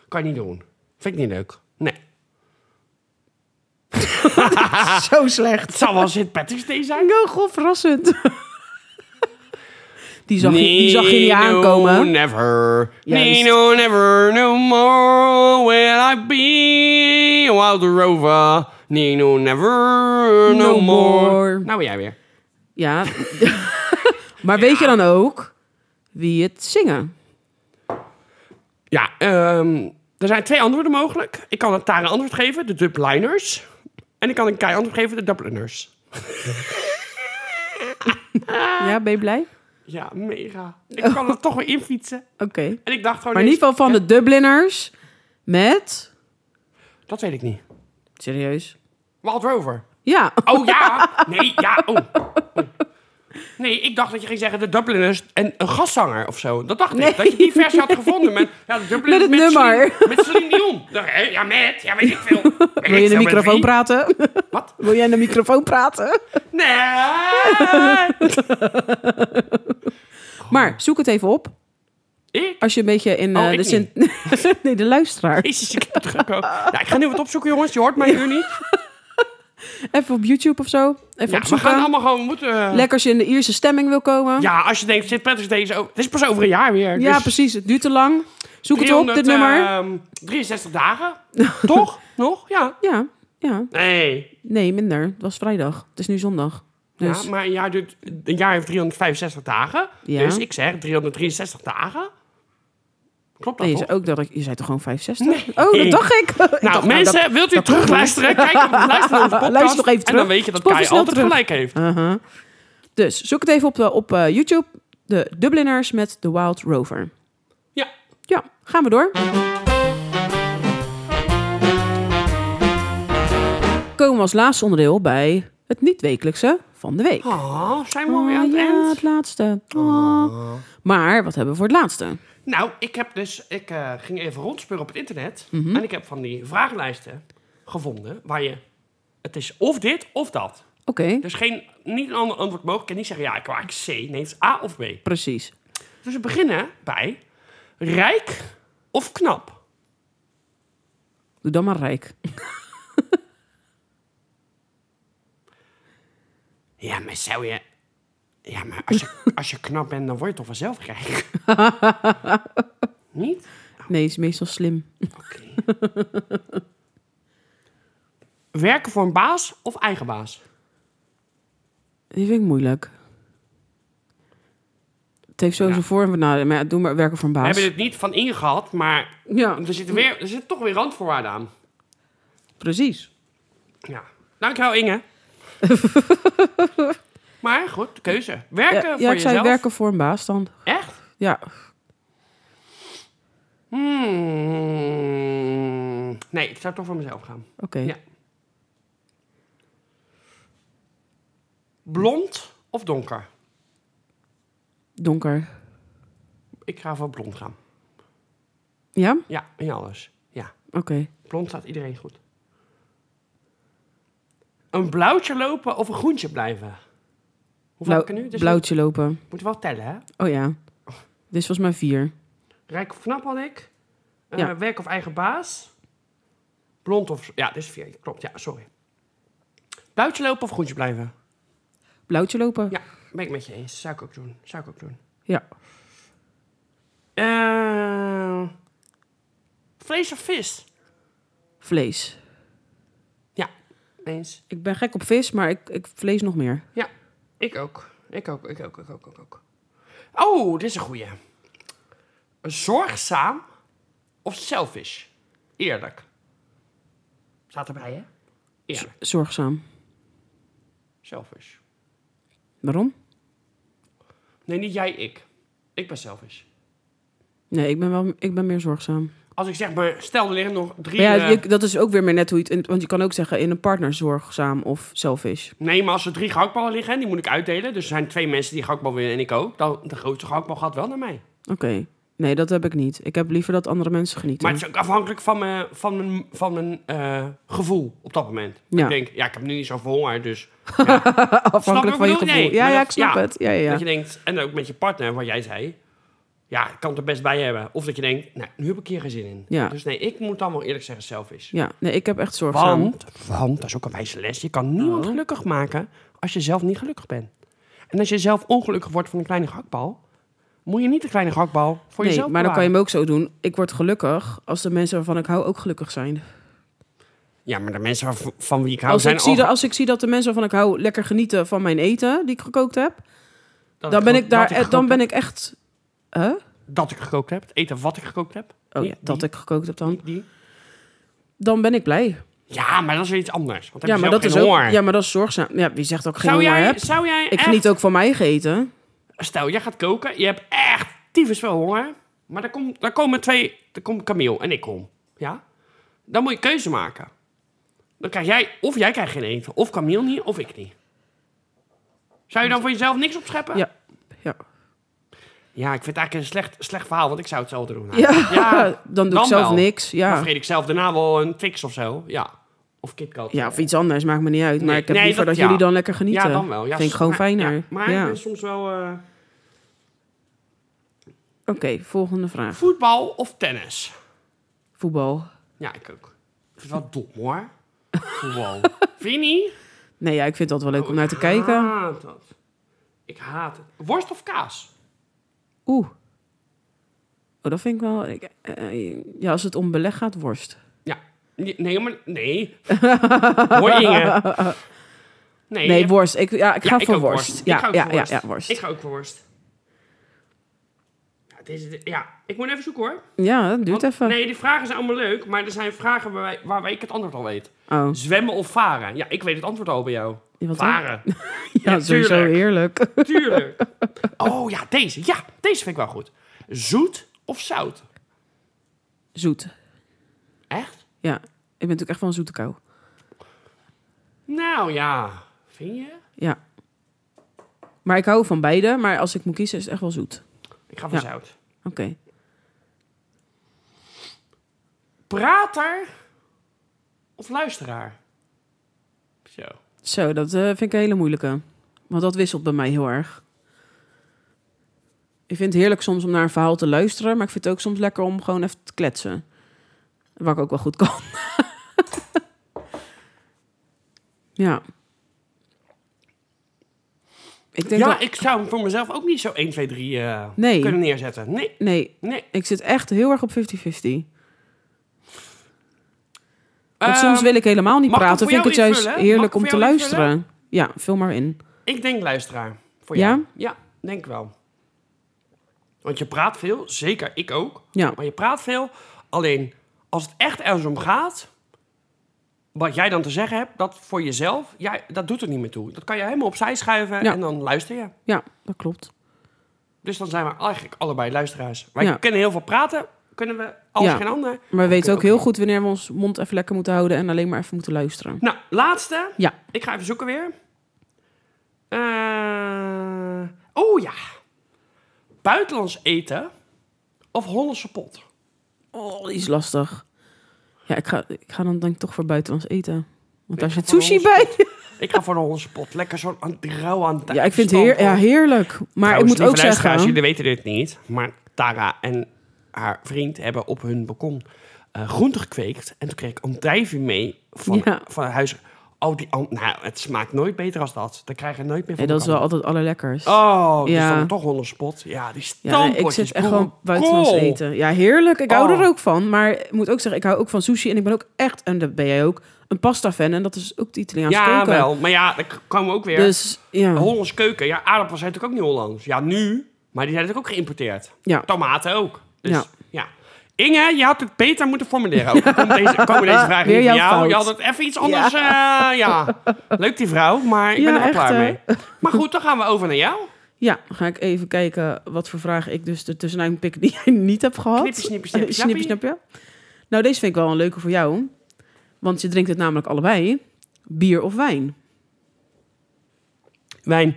S2: Kan je niet doen. Vind ik niet leuk. Nee.
S1: zo slecht.
S2: Het zal wel St. Patrick's Day zijn.
S1: Heel grof verrassend. die, zag je, die zag je niet
S2: No,
S1: aankomen. dus-
S2: never.
S1: Juist.
S2: Nino, never, no more will I be a wild rover. Nino, never, no,
S1: No
S2: more.
S1: more.
S2: Nou ben jij weer.
S1: Ja. maar weet je dan ook wie het zingen?
S2: Ja, ehm, er zijn twee antwoorden mogelijk. Ik kan een tare antwoord geven, de Dubliners. En ik kan een kei antwoord geven, de Dubliners.
S1: Ja, ben je blij?
S2: Ja, mega. Ik kan er toch weer in fietsen.
S1: Oké.
S2: En ik dacht gewoon...
S1: Oh. Maar in
S2: deze-
S1: ieder geval van de Dubliners met...
S2: Dat weet ik niet.
S1: Serieus?
S2: Wild Rover.
S1: Ja.
S2: Oh ja! Nee, ja. Oh. Oh. Nee, ik dacht dat je ging zeggen de Dubliners en een gastzanger of zo. Dat dacht ik. Dat je die versie had gevonden met, ja, de Dubliners
S1: Met het nummer.
S2: Celine, met Celine Dion. Dacht, ik, hè, ja, met. Ja, weet ik veel. Weet ik
S1: Wil je in de
S2: veel, met
S1: microfoon
S2: wie.
S1: praten?
S2: Wat?
S1: Wil jij in de microfoon praten?
S2: Nee.
S1: Maar zoek het even op.
S2: Ik?
S1: Als je een beetje in
S2: Oh,
S1: eh,
S2: ik
S1: de Sint... nee, de luisteraar.
S2: Jezus, ik heb het gek ook. Ja, ik ga nu wat opzoeken, jongens. Je hoort mij nu niet.
S1: Even op YouTube of zo. Even
S2: Ja, we
S1: opzoeken.
S2: gaan allemaal gewoon moeten... eh,
S1: Lekker als je in de Ierse stemming wil komen.
S2: Ja, als je denkt, zit prettig deze... over- Het is pas over een jaar weer.
S1: Ja,
S2: dus
S1: precies. Het duurt te lang. Zoek het op, dit
S2: 300,
S1: nummer.
S2: ehm, 63 dagen. Toch? Nog? Ja.
S1: Ja, ja.
S2: Nee.
S1: Nee, minder. Het was vrijdag. Het is nu zondag. Dus
S2: Ja, maar een jaar, duurt, een jaar heeft 365 dagen.
S1: Ja.
S2: Dus ik zeg 363 dagen. Klopt dat
S1: nee, je
S2: toch?
S1: zei ook dat ik... Je zei toch gewoon 65? Oh, dat dacht ik. Ik dacht, ah,
S2: Nou, mensen, wilt u
S1: dat klopt
S2: terugluisteren? Kijk, luister naar onze podcast.
S1: Luister nog even
S2: En dan
S1: terug.
S2: weet je dat
S1: Spoel
S2: Kai
S1: snel
S2: altijd
S1: terug.
S2: gelijk heeft.
S1: Uh-huh. Dus zoek het even op, eh, op eh, YouTube. De Dubliners met The Wild Rover.
S2: Ja.
S1: Ja, gaan we door. Komen we als laatste onderdeel bij het niet-wekelijkse van de week.
S2: Oh, zijn we alweer aan het
S1: Ah, ja,
S2: eind? Oh.
S1: het laatste. Ah. Maar wat hebben we voor het laatste?
S2: Nou, ik heb dus, ik eh, ging even rondspeuren op het internet.
S1: Mhm.
S2: En ik heb van die vragenlijsten gevonden waar je, het is of dit of dat.
S1: Oké,
S2: Dus geen, niet een ander antwoord mogelijk. Ik kan niet zeggen, ja, ik wil eigenlijk C. Nee, het is A of B.
S1: precies.
S2: Dus we beginnen bij rijk of knap.
S1: Doe dan maar rijk.
S2: Ja, maar zou je... Ja, maar als je, als je knap bent, dan word je toch vanzelf rijk. niet?
S1: Nee, is meestal slim.
S2: Oké. Werken voor een baas of eigen baas?
S1: Die vind ik moeilijk. Het heeft sowieso
S2: Ja.
S1: voor en nadelen. Maar ja, doe maar werken voor een
S2: We
S1: baas.
S2: hebben het niet van ingehad, maar
S1: Ja, dus
S2: er zitten, weer, er zitten toch weer randvoorwaarden aan.
S1: precies.
S2: Ja. Dankjewel, Inge. maar goed, de keuze. Werken
S1: Ja, ja,
S2: voor
S1: ik zei
S2: jezelf.
S1: werken voor een baas dan.
S2: Echt?
S1: Ja,
S2: Hmm. Nee, ik zou toch voor mezelf gaan.
S1: oké.
S2: Ja. Blond of donker?
S1: Donker.
S2: Ik ga voor blond gaan.
S1: Ja?
S2: Ja, in alles. Ja,
S1: Oké.
S2: blond staat iedereen goed. Een blauwtje lopen of een groentje blijven? Hoeveel
S1: Blauw-
S2: heb ik er nu? Dus
S1: Nou, blauwtje lopen.
S2: Moet wel tellen, hè?
S1: Oh ja. Dit is volgens mij vier.
S2: Rijk of knap had ik. Eh,
S1: Ja.
S2: Werk of eigen baas. Blond of... Ja, dit is vier. Klopt, ja, sorry. Blauwtje lopen of groentje blijven?
S1: Blauwtje lopen?
S2: Ja, ben ik met je eens. Zou ik ook doen. Zou ik ook doen.
S1: Ja.
S2: Eh, vlees of vis?
S1: Vlees.
S2: Ja, eens.
S1: Ik ben gek op vis, maar ik, ik vlees nog meer.
S2: Ja, ik ook. Ik ook, ik ook, ik ook, ik ook. Oh, dit is een goeie. Zorgzaam of selfish? Eerlijk. Staat erbij, hè? Eerlijk.
S1: Zorgzaam.
S2: Selfish.
S1: Waarom?
S2: Nee, niet jij, ik. Ik ben selfish.
S1: Nee, ik ben, wel, ik ben meer zorgzaam.
S2: Als ik zeg maar, stel er liggen nog drie...
S1: Maar ja,
S2: eh,
S1: je- dat is ook weer meer net hoe je het... in- Want je kan ook zeggen in een partner zorgzaam of selfish.
S2: Nee, maar als er drie gehaktballen liggen, en die moet ik uitdelen. Dus er zijn twee mensen die gehaktbal willen en ik ook. Dan de grootste gehaktbal gaat wel naar mij.
S1: Oké. Nee, dat heb ik niet. Ik heb liever dat andere mensen genieten.
S2: Maar het is ook afhankelijk van mijn, van mijn, van mijn eh, gevoel op dat moment.
S1: Ja.
S2: Ik denk, ja, ik heb nu niet zoveel honger, dus...
S1: Afhankelijk
S2: Snap
S1: van
S2: je
S1: je
S2: wat
S1: gevoel.
S2: ik bedoel? Nee,
S1: ja,
S2: maar
S1: ja,
S2: dat-
S1: ik snap
S2: ja.
S1: het. Ja, ja, ja.
S2: Dat je denkt, en ook met je partner, wat jij zei... Ja, ik kan het er best bij hebben. Of dat je denkt, nou, nu heb ik hier geen zin in.
S1: Ja.
S2: Dus nee, ik moet dan wel eerlijk zeggen, selfish.
S1: Ja, nee, ik heb echt zorgzaam.
S2: Want, want, dat is ook een wijze les. Je kan niemand
S1: Oh.
S2: gelukkig maken als je zelf niet gelukkig bent. En als je zelf ongelukkig wordt van een kleine gehaktbal... moet je niet de kleine gehaktbal voor
S1: nee,
S2: jezelf
S1: maar dan kan je
S2: bewaren.
S1: hem ook zo doen. Ik word gelukkig als de mensen waarvan ik hou ook gelukkig zijn.
S2: Ja, maar de mensen waarv- van wie ik hou
S1: Als
S2: Nou, zijn
S1: ik, zie
S2: al-
S1: dat, als ik zie dat de mensen waarvan ik hou lekker genieten van mijn eten die ik gekookt heb,
S2: dat
S1: dan ben
S2: geko-
S1: ik
S2: dat
S1: daar, eh,
S2: gekookt
S1: dan ben
S2: heb.
S1: ik echt. Huh?
S2: Dat ik gekookt heb. Het eten wat ik gekookt heb.
S1: Oh,
S2: Die-
S1: dat
S2: die-
S1: ik gekookt heb dan.
S2: Die?
S1: Dan ben ik blij.
S2: Ja, maar dat is weer iets anders. Want dan
S1: Ja
S2: heb je
S1: maar,
S2: zelf
S1: dat is
S2: geen
S1: ook,
S2: honger.
S1: ja, maar dat is zorgzaam. Ja, wie zegt dat ik geen
S2: zou,
S1: honger
S2: jij,
S1: heb?
S2: zou jij
S1: Ik
S2: echt-
S1: geniet ook van mij gegeten.
S2: Stel, jij gaat koken. Je hebt echt tyfus veel honger. Maar daar, komt daar komen twee... Daar komt Camille en ik om. Ja? Dan moet je keuze maken. Dan krijg jij... Of jij krijgt geen eten. Of Camille niet, of ik niet. Zou je dan voor jezelf niks opscheppen?
S1: Ja. Ja.
S2: Ja, ik vind het eigenlijk een slecht, slecht verhaal, want ik zou hetzelfde doen.
S1: Ja,
S2: eigenlijk.
S1: dan doe ik zelf
S2: wel.
S1: niks.
S2: Dan
S1: Ja.
S2: vreet ik zelf daarna wel een fix of zo. Ja. Of KitKat.
S1: ja, of iets anders, maakt me niet uit. Maar
S2: Nee,
S1: ik heb
S2: nee,
S1: liever
S2: dat-
S1: dat,
S2: ja.
S1: jullie dan lekker genieten.
S2: Ja, dan wel. Ja,
S1: Vind ik gewoon
S2: maar-
S1: fijner.
S2: ja, maar
S1: Ja.
S2: ik ben soms wel... eh,
S1: Oké, volgende vraag.
S2: voetbal of tennis?
S1: Voetbal.
S2: Ja, ik ook. Ik vind het wel dom, hoor. Voetbal. vind je niet?
S1: Nee, ja, ik vind dat wel
S2: Oh.
S1: leuk om naar te
S2: Ik
S1: kijken.
S2: haat dat. Ik haat het. Worst of kaas?
S1: Oeh. Oh, dat vind ik wel... Ik, eh, ja, als het om beleg gaat, worst.
S2: Ja. Nee, nee, maar... Nee. Hoor Inge. Nee,
S1: Nee,
S2: je-
S1: worst. Ik, ja, ik
S2: Ja,
S1: ga
S2: ik
S1: voor
S2: ook
S1: worst.
S2: Ik
S1: Ja,
S2: ga ook
S1: ja,
S2: voor
S1: ja, ja, worst.
S2: Ik ga ook voor worst. Ja, deze, ja, ik moet even zoeken hoor.
S1: Ja, dat duurt
S2: Want-
S1: even.
S2: Nee, die vragen zijn allemaal leuk, maar er zijn vragen waar, wij- waar wij- ik het antwoord al weet.
S1: Oh,
S2: Zwemmen of varen? Ja, ik weet het antwoord al bij jou.
S1: Ja, wat dan?
S2: varen.
S1: ja, sowieso
S2: tuurlijk.
S1: heerlijk.
S2: Tuurlijk. Oh ja, deze. Ja, deze vind ik wel goed. Zoet of zout?
S1: Zoet.
S2: Echt?
S1: Ja, ik ben natuurlijk echt van een zoete kou.
S2: Nou ja, vind je?
S1: Ja. Maar ik hou van beide. Maar als ik moet kiezen, is het echt wel zoet.
S2: Ik ga voor
S1: Ja.
S2: zout.
S1: Oké.
S2: Prater of luisteraar? Zo.
S1: Zo, dat eh, vind ik een hele moeilijke. Want dat wisselt bij mij heel erg. Ik vind het heerlijk soms om naar een verhaal te luisteren. Maar ik vind het ook soms lekker om gewoon even te kletsen. Wat ik ook wel goed kan. ja. Ik denk
S2: ja,
S1: dat...
S2: ik zou hem voor mezelf ook niet zo 1, 2, 3 eh,
S1: Nee.
S2: kunnen neerzetten. Nee,
S1: Nee,
S2: nee.
S1: ik zit echt heel erg op 50-50. Want
S2: Ehm,
S1: soms wil ik helemaal niet
S2: mag ik
S1: praten.
S2: voor
S1: Vind ik het
S2: jou
S1: juist
S2: invullen? Mag ik
S1: heerlijk
S2: voor
S1: om te
S2: jou invullen?
S1: luisteren. Ja, vul maar in.
S2: Ik denk luisteraar. Voor
S1: Ja?
S2: jou. Ja, denk wel. Want je praat veel, zeker ik ook.
S1: Ja,
S2: Maar je praat veel. Alleen als het echt ergens om gaat, wat jij dan te zeggen hebt, dat voor jezelf, jij, dat doet er niet meer toe. Dat kan je helemaal opzij schuiven
S1: Ja.
S2: en dan luister je.
S1: ja dat klopt.
S2: Dus dan zijn we eigenlijk allebei luisteraars. Wij
S1: Ja.
S2: kunnen heel veel praten, kunnen we als
S1: Ja.
S2: geen ander.
S1: Maar we weten
S2: Oké,
S1: ook heel
S2: oké.
S1: goed wanneer we ons mond even lekker moeten houden en alleen maar even moeten luisteren.
S2: Nou, laatste.
S1: Ja.
S2: Ik ga even zoeken weer. Eh, oh ja. Buitenlands eten of Hollandse pot?
S1: Oh, die is lastig. Ja, ik ga, ik ga dan denk ik toch voor buitenlands eten. Want daar
S2: ga
S1: zit
S2: voor de
S1: sushi bij.
S2: Ik ga voor de Hollandse pot. Lekker zo'n aan- rauw aan het
S1: Ja, ik vind het heer, ja, heerlijk. Maar ik
S2: Trouwens,
S1: moet ook
S2: lieve luisteraars,
S1: zeggen...
S2: Jullie weten dit niet, maar Tara en haar vriend hebben op hun balkon eh groenten gekweekt. En toen kreeg ik andijvie mee van,
S1: Ja.
S2: van huis. Oh, die, an- nou, het smaakt nooit beter als dat. Daar krijg je nooit meer van
S1: Ja, dat is wel
S2: elkaar.
S1: altijd allerlekkers.
S2: Oh, dus
S1: Ja.
S2: dan toch onder spot. Ja, die
S1: Ja, nee,
S2: stampotjes.
S1: ik zit echt gewoon buitenlands
S2: boerenkool.
S1: eten. Ja, heerlijk. Ik hou
S2: Oh.
S1: er ook van. Maar ik moet ook zeggen, ik hou ook van sushi. En ik ben ook echt, en dat ben jij ook, een pasta-fan. En dat is ook de Italiaanse
S2: Ja,
S1: keuken.
S2: wel. Maar ja, dan k- komen we ook weer.
S1: Dus ja,
S2: Hollands keuken. Ja, aardappels zijn natuurlijk ook niet Hollands. Ja, nu. Maar die zijn natuurlijk ook geïmporteerd.
S1: ja.
S2: Tomaten ook. Dus ja.
S1: Ja.
S2: Inge, je had het beter moeten formuleren. Ook komt deze, komen deze vragen
S1: Weer
S2: niet van
S1: jouw
S2: jou. Je had
S1: fout.
S2: het even iets anders. Ja. ja. Leuk die vrouw, maar ik
S1: Ja,
S2: ben er wel
S1: echt,
S2: klaar
S1: hè?
S2: mee. Maar goed, dan gaan we over naar jou.
S1: ja, ga ik even kijken wat voor vragen ik dus ertussenuit pik die jij niet hebt gehad.
S2: Knippie, snippie, snip,
S1: Eh,
S2: snappie.
S1: snippie, snapje. Nou, deze vind ik wel een leuke voor jou. Want je drinkt het namelijk allebei. Bier of wijn?
S2: Wijn.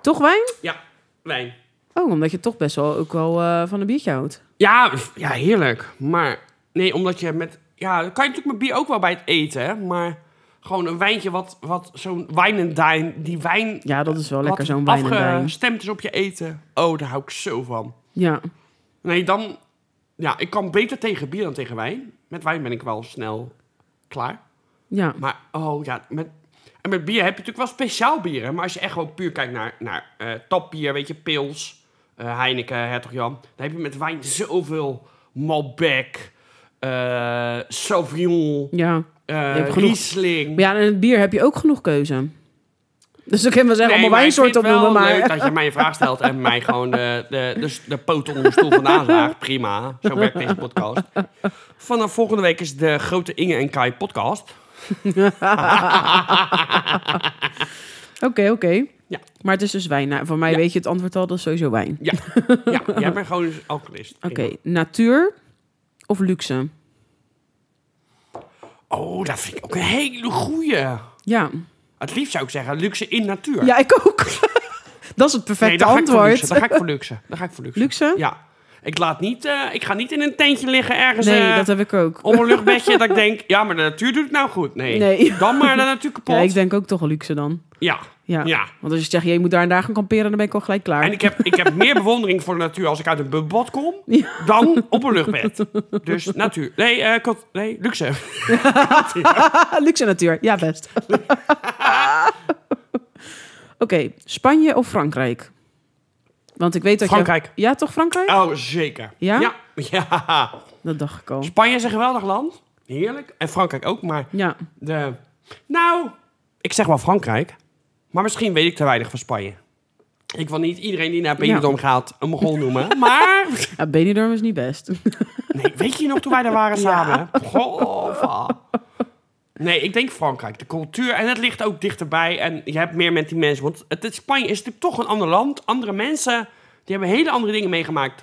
S1: Toch wijn?
S2: Ja, wijn.
S1: Oh, omdat je toch best wel ook wel eh, van een biertje houdt.
S2: Ja, f- ja, heerlijk. Maar nee, omdat je met... Ja, dan kan je natuurlijk met bier ook wel bij het eten, hè, maar... Gewoon een wijntje wat, wat zo'n wijn en dijn, die wijn
S1: Ja, dat is wel
S2: Eh, wat
S1: lekker zo'n wijn en wijn.
S2: afgestemd is op je eten. Oh, daar hou ik zo van.
S1: Ja,
S2: Nee, dan... Ja, ik kan beter tegen bier dan tegen wijn. Met wijn ben ik wel snel klaar.
S1: ja.
S2: Maar, oh ja, met... En met bier heb je natuurlijk wel speciaal bieren. Maar als je echt gewoon puur kijkt naar, naar eh, tapbier, weet je, pils, eh, Heineken, Hertog Jan. Dan heb je met wijn zoveel Malbec, eh, Sauvignon,
S1: Ja.
S2: eh,
S1: hebt genoeg.
S2: Riesling.
S1: Maar ja, en in het bier heb je ook genoeg keuze. Dus ik kan wel zeggen, allemaal wijnsoorten opnoemen, maar...
S2: leuk dat je mij een vraag stelt en mij gewoon de, de, de, de poot onder de stoel vandaan zaagt. Prima, zo werkt deze podcast. Vanaf volgende week is de grote Inge en Kai podcast.
S1: Oké, oké.
S2: Ja.
S1: Maar het is dus wijn. Nou, voor mij
S2: Ja.
S1: weet je het antwoord al, dat is sowieso wijn.
S2: Ja, ja jij bent gewoon een alcoholist.
S1: Oké, natuur of luxe?
S2: Oh, dat vind ik ook een hele goeie.
S1: Ja.
S2: Het liefst zou ik zeggen luxe in natuur.
S1: Ja, ik ook. dat is het perfecte
S2: dan ga ik voor
S1: antwoord.
S2: luxe. Dan ga ik voor luxe. Dan ga ik voor luxe.
S1: Luxe?
S2: Ja. Ik, laat niet, eh, ik ga niet in een tentje liggen ergens
S1: Nee,
S2: eh,
S1: dat heb ik ook.
S2: op een luchtbedje dat ik denk, ja, maar de natuur doet het nou goed. Nee,
S1: Nee.
S2: dan maar de natuur kapot.
S1: Ja, ik denk ook toch wel luxe dan.
S2: ja.
S1: Ja.
S2: Ja.
S1: Want als je zegt, je moet daar en daar gaan kamperen, dan ben ik al gelijk klaar.
S2: En ik heb, ik heb meer bewondering voor de natuur als ik uit een bubbelbad kom
S1: Ja.
S2: dan op een luchtbed. Dus natuur. Nee, eh, kot- nee luxe.
S1: luxe natuur, ja best. Oké, Spanje of Frankrijk? Want ik weet dat
S2: Frankrijk.
S1: je... Ja, toch Frankrijk?
S2: Oh, zeker.
S1: Ja?
S2: Ja. ja.
S1: Dat dacht ik al.
S2: Spanje is een geweldig land. Heerlijk. En Frankrijk ook, maar
S1: Ja,
S2: de... Nou, ik zeg wel Frankrijk. Maar misschien weet ik te weinig van Spanje. Ik wil niet iedereen die naar Benidorm gaat een Mogol noemen. Maar...
S1: ja Benidorm is niet best.
S2: Nee, weet je nog toen wij daar waren samen? Goh, va. Nee, ik denk Frankrijk. De cultuur. En het ligt ook dichterbij. En je hebt meer met die mensen. Want het, het Spanje is natuurlijk toch een ander land. Andere mensen. Die hebben hele andere dingen meegemaakt.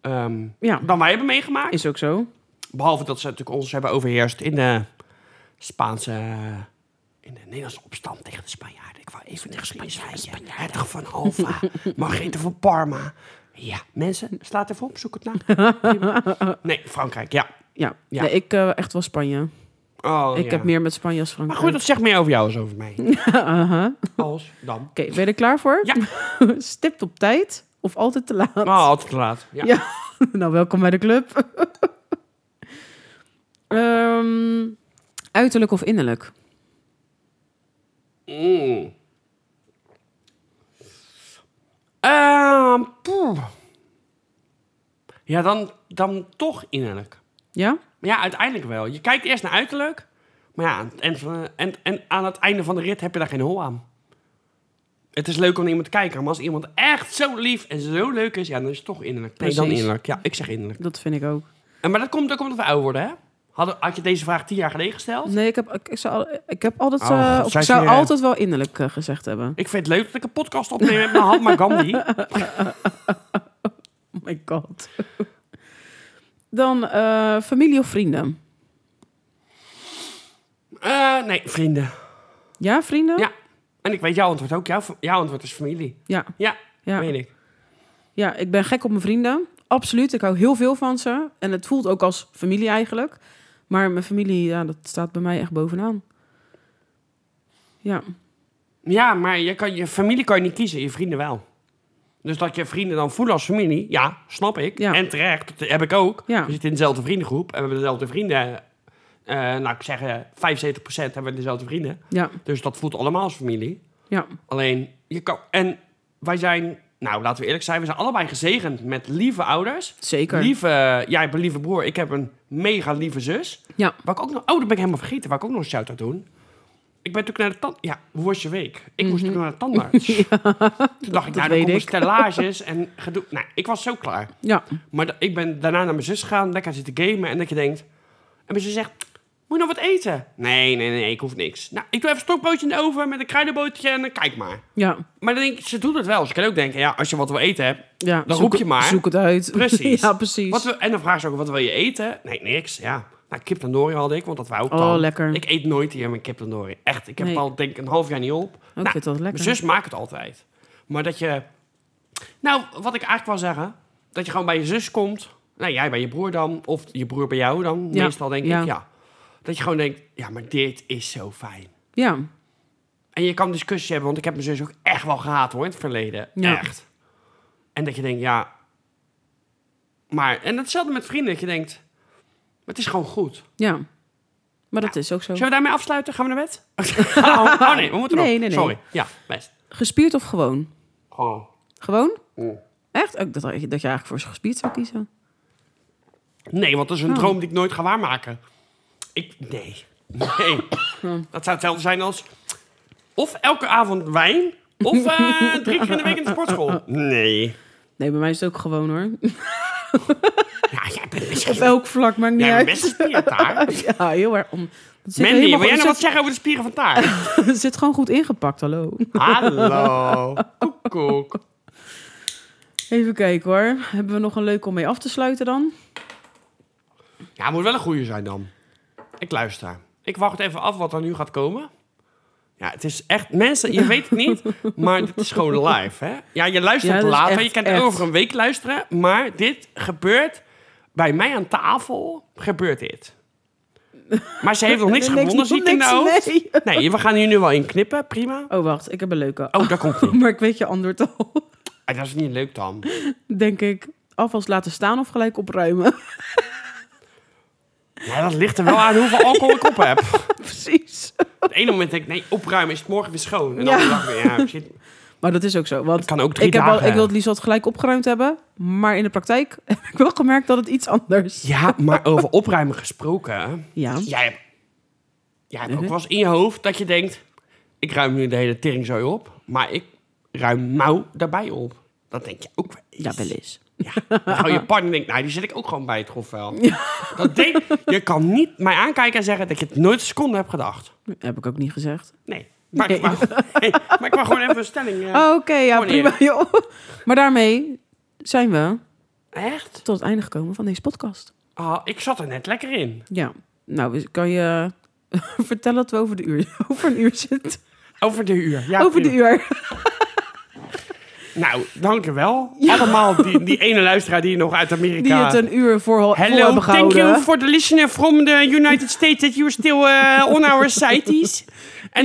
S2: ehm,
S1: Ja.
S2: Dan wij hebben meegemaakt.
S1: Is ook zo.
S2: Behalve dat ze natuurlijk ons hebben overheerst in de Spaanse... In de Nederlandse opstand tegen de Spanjaarden. Ik wou even tegen Spanjaarden. Hertog van Alva. Margrethe van Parma. Ja, mensen, slaat even op. Zoek het na. Prima. Nee, Frankrijk, ja.
S1: Ja,
S2: Ja.
S1: Nee, ik eh, echt wel Spanje.
S2: Oh,
S1: ik
S2: ja.
S1: heb meer met Spanje als
S2: Maar
S1: Frankrijk.
S2: goed, dat zegt meer over jou als over mij. Uh-huh.
S1: Aha.
S2: Als, dan.
S1: Oké, ben je er klaar voor?
S2: Ja.
S1: Stipt op tijd of altijd te laat?
S2: Oh, altijd te laat. Ja.
S1: Ja. nou, welkom bij de club. Ehm, uiterlijk of innerlijk?
S2: Mm. Ehm, poeh. ja, dan, dan toch innerlijk.
S1: Ja?
S2: Maar Ja, uiteindelijk wel. Je kijkt eerst naar uiterlijk. Maar ja, aan het eind van- en, en aan het einde van de rit heb je daar geen hol aan. Het is leuk om naar iemand te kijken, maar als iemand echt zo lief en zo leuk is, ja, dan is het toch innerlijk. Nee, dan
S1: Precies.
S2: innerlijk. Ja, ik zeg innerlijk.
S1: Dat vind ik ook.
S2: En, maar dat komt ook omdat we ouder worden, hè? Had, had je deze vraag tien jaar geleden gesteld?
S1: Nee, ik heb, ik, ik zou, al- ik heb altijd,
S2: Oh,
S1: eh,
S2: God,
S1: of
S2: zij
S1: ik zou
S2: is hier, hè?
S1: altijd wel innerlijk eh, gezegd hebben.
S2: Ik vind het leuk dat ik een podcast opneem met Mahatma Gandhi.
S1: Oh my god. Dan eh, familie of vrienden?
S2: Eh, nee, vrienden.
S1: Ja, vrienden?
S2: Ja. En ik weet jouw antwoord ook. Jouw, jouw antwoord is familie.
S1: Ja,
S2: Ja,
S1: ja.
S2: weet ik.
S1: Ja, ik ben gek op mijn vrienden. Absoluut, ik hou heel veel van ze. En het voelt ook als familie eigenlijk. Maar mijn familie, ja, dat staat bij mij echt bovenaan. Ja,
S2: Ja, maar je, kan, je familie kan je niet kiezen, je vrienden wel. Dus dat je vrienden dan voelen als familie, ja, snap ik.
S1: Ja.
S2: En terecht, dat heb ik ook.
S1: Ja.
S2: We zitten in dezelfde vriendengroep en we hebben dezelfde vrienden. Eh, nou, ik zeg eh, 75% hebben we dezelfde vrienden.
S1: ja,
S2: Dus dat voelt allemaal als familie.
S1: ja,
S2: Alleen, je kan... En wij zijn, nou, laten we eerlijk zijn, we zijn allebei gezegend met lieve ouders.
S1: zeker.
S2: Lieve, jij hebt een lieve broer, ik heb een mega lieve zus.
S1: Ja,
S2: Waar ik ook nog, oh, dat ben ik helemaal vergeten. Waar ik ook nog een shout-out doen. Ik ben natuurlijk naar de tand... Ja, hoe was je week? Ik moest natuurlijk naar de tandarts. Toen dacht ik,
S1: Mhm.
S2: nou,
S1: weet
S2: dan komen
S1: ik.
S2: stellages en gedoe. Nou, ik was zo klaar.
S1: ja,
S2: Maar da- ik ben daarna naar mijn zus gegaan, lekker zitten gamen. En dat je denkt... En mijn zus zegt, moet je nog wat eten? Nee, nee, nee, ik hoef niks. Nou, ik doe even een stokbroodje in de oven met een kruidenbotertje en dan kijk maar.
S1: ja.
S2: Maar dan denk ik, ze doet het wel. Ze kan ook denken, ja, als je wat wil eten hebt...
S1: ja.
S2: Dan
S1: zoek
S2: roep je
S1: het-
S2: maar.
S1: Zoek het uit.
S2: Precies.
S1: ja, precies.
S2: Wat wil- en dan vraag ze ook, wat wil je eten? Nee, niks. Ja. Nou, kip tandoori had ik, want dat wou ik
S1: Oh,
S2: dan.
S1: lekker.
S2: Ik eet nooit hier mijn kip tandoori. Echt, ik heb
S1: Nee. Oh,
S2: het al denk ik een half jaar niet op. Nou,
S1: ik vind dat lekker.
S2: Mijn zus maakt het altijd. Maar dat je... Nou, wat ik eigenlijk wil zeggen, dat je gewoon bij je zus komt. Nou, jij bij je broer dan, of je broer bij jou dan.
S1: Ja.
S2: Meestal denk
S1: Ja.
S2: ik, ja. Dat je gewoon denkt, ja, maar dit is zo fijn.
S1: Ja,
S2: En je kan discussies hebben, want ik heb mijn zus ook echt wel gehaat hoor, in het verleden.
S1: Ja.
S2: Echt. En dat je denkt, ja. Maar, en hetzelfde met vrienden, dat je denkt, het is gewoon goed.
S1: ja. Maar dat is ook zo.
S2: Zullen we daarmee afsluiten? Gaan we naar bed? oh, oh, nee, we moeten
S1: Nee,
S2: nog.
S1: nee, nee.
S2: Sorry. Ja, best.
S1: Gespierd of gewoon?
S2: Oh.
S1: Gewoon?
S2: Mm.
S1: Echt? Ook dat, dat je eigenlijk voor gespierd zou kiezen.
S2: Nee, want dat is een
S1: Oh.
S2: droom die ik nooit ga
S1: Oh.
S2: waarmaken. Ik, nee. Nee. Dat zou hetzelfde zijn als, Of elke avond wijn, of eh, drie keer in de week in de sportschool. Nee.
S1: Nee, bij mij is het ook gewoon hoor.
S2: Ja, jij bent
S1: Op
S2: best,
S1: elk vlak, maakt niet
S2: jij bent
S1: uit.
S2: best gespierd daar.
S1: Ja, heel erg on... Dat zit er
S2: Mandy, wil
S1: helemaal-
S2: jij nog wat
S1: zit,
S2: zeggen over de spieren van taart?
S1: zit gewoon goed ingepakt, hallo.
S2: Hallo. Koekoek.
S1: Even kijken hoor. Hebben we nog een leuke om mee af te sluiten dan?
S2: Ja, moet wel een goeie zijn dan. Ik luister. Ik wacht even af wat er nu gaat komen. Ja, het is echt... Mensen, je weet het niet, maar dit is gewoon live, hè? Ja, je
S1: Ja,
S2: luistert
S1: dat is
S2: later.
S1: echt,
S2: je kan
S1: echt.
S2: over een week luisteren. Maar dit gebeurt... Bij mij aan tafel gebeurt dit. Maar ze heeft nog niks
S1: Niks-
S2: gewonnen, zie ik in de
S1: niks,
S2: hoofd.
S1: nee.
S2: Nee, we gaan hier nu wel in knippen. Prima.
S1: Oh, wacht. Ik heb een leuke.
S2: Oh, daar komt ie.
S1: Maar ik weet je antwoord al.
S2: Ah, Dat is niet leuk dan.
S1: Denk ik. Afwas laten staan of gelijk opruimen.
S2: Ja, dat ligt er wel aan hoeveel alcohol ik op heb.
S1: Precies.
S2: Op het ene moment denk ik, nee, opruimen is het morgen weer schoon. En
S1: Ja.
S2: dan de dag weer, ja, shit.
S1: Maar dat is ook zo. Want
S2: Kan ook drie
S1: ik, heb
S2: dagen.
S1: wel, ik wil het liefst wat gelijk opgeruimd hebben. Maar in de praktijk heb ik wel gemerkt dat het iets anders.
S2: Ja, maar over opruimen gesproken. Mhm.
S1: Ja.
S2: Jij hebt, jij hebt ook wel eens in je hoofd dat je denkt... Ik ruim nu de hele teringzooi op, maar ik ruim nou daarbij op. Dat denk je ook wel eens.
S1: Ja, wel eens.
S2: Ja. Dan hou je partner denkt, nou, die zet ik ook gewoon bij het grofvuil. Dat denk, je kan niet mij aankijken en zeggen dat je het nooit een seconde hebt gedacht.
S1: Heb ik ook niet gezegd.
S2: Nee. Maar,
S1: Nee. Oh.
S2: Ik, wou, nee, maar ik wou gewoon even een stelling. eh,
S1: Oké, ja,
S2: Gewoon
S1: prima. Joh. Maar daarmee zijn we
S2: Echt?
S1: tot het einde gekomen van deze podcast.
S2: Ah, ik zat er net lekker in.
S1: Ja. Nou, dus kan je vertellen dat we over, de uur, over een uur zitten?
S2: Over de uur. Ja,
S1: over de
S2: prima.
S1: uur.
S2: Nou, dank je wel. Allemaal die, die ene luisteraar die nog uit Amerika...
S1: Die het een uur voor, vol
S2: eh, Hello,
S1: hebben
S2: thank
S1: gehouden.
S2: you for the listener from the United States that you're still eh, on our sites. And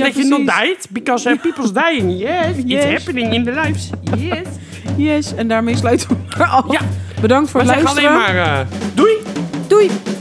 S1: Ja,
S2: that you not
S1: precies.
S2: died, because eh, people's dying. Yes,
S1: Yes.
S2: it's happening in the lives. Yes.
S1: Yes, en daarmee sluiten we maar af.
S2: Ja.
S1: Bedankt voor
S2: We
S1: het
S2: zeggen alleen
S1: luisteren.
S2: maar... eh, doei!
S1: Doei!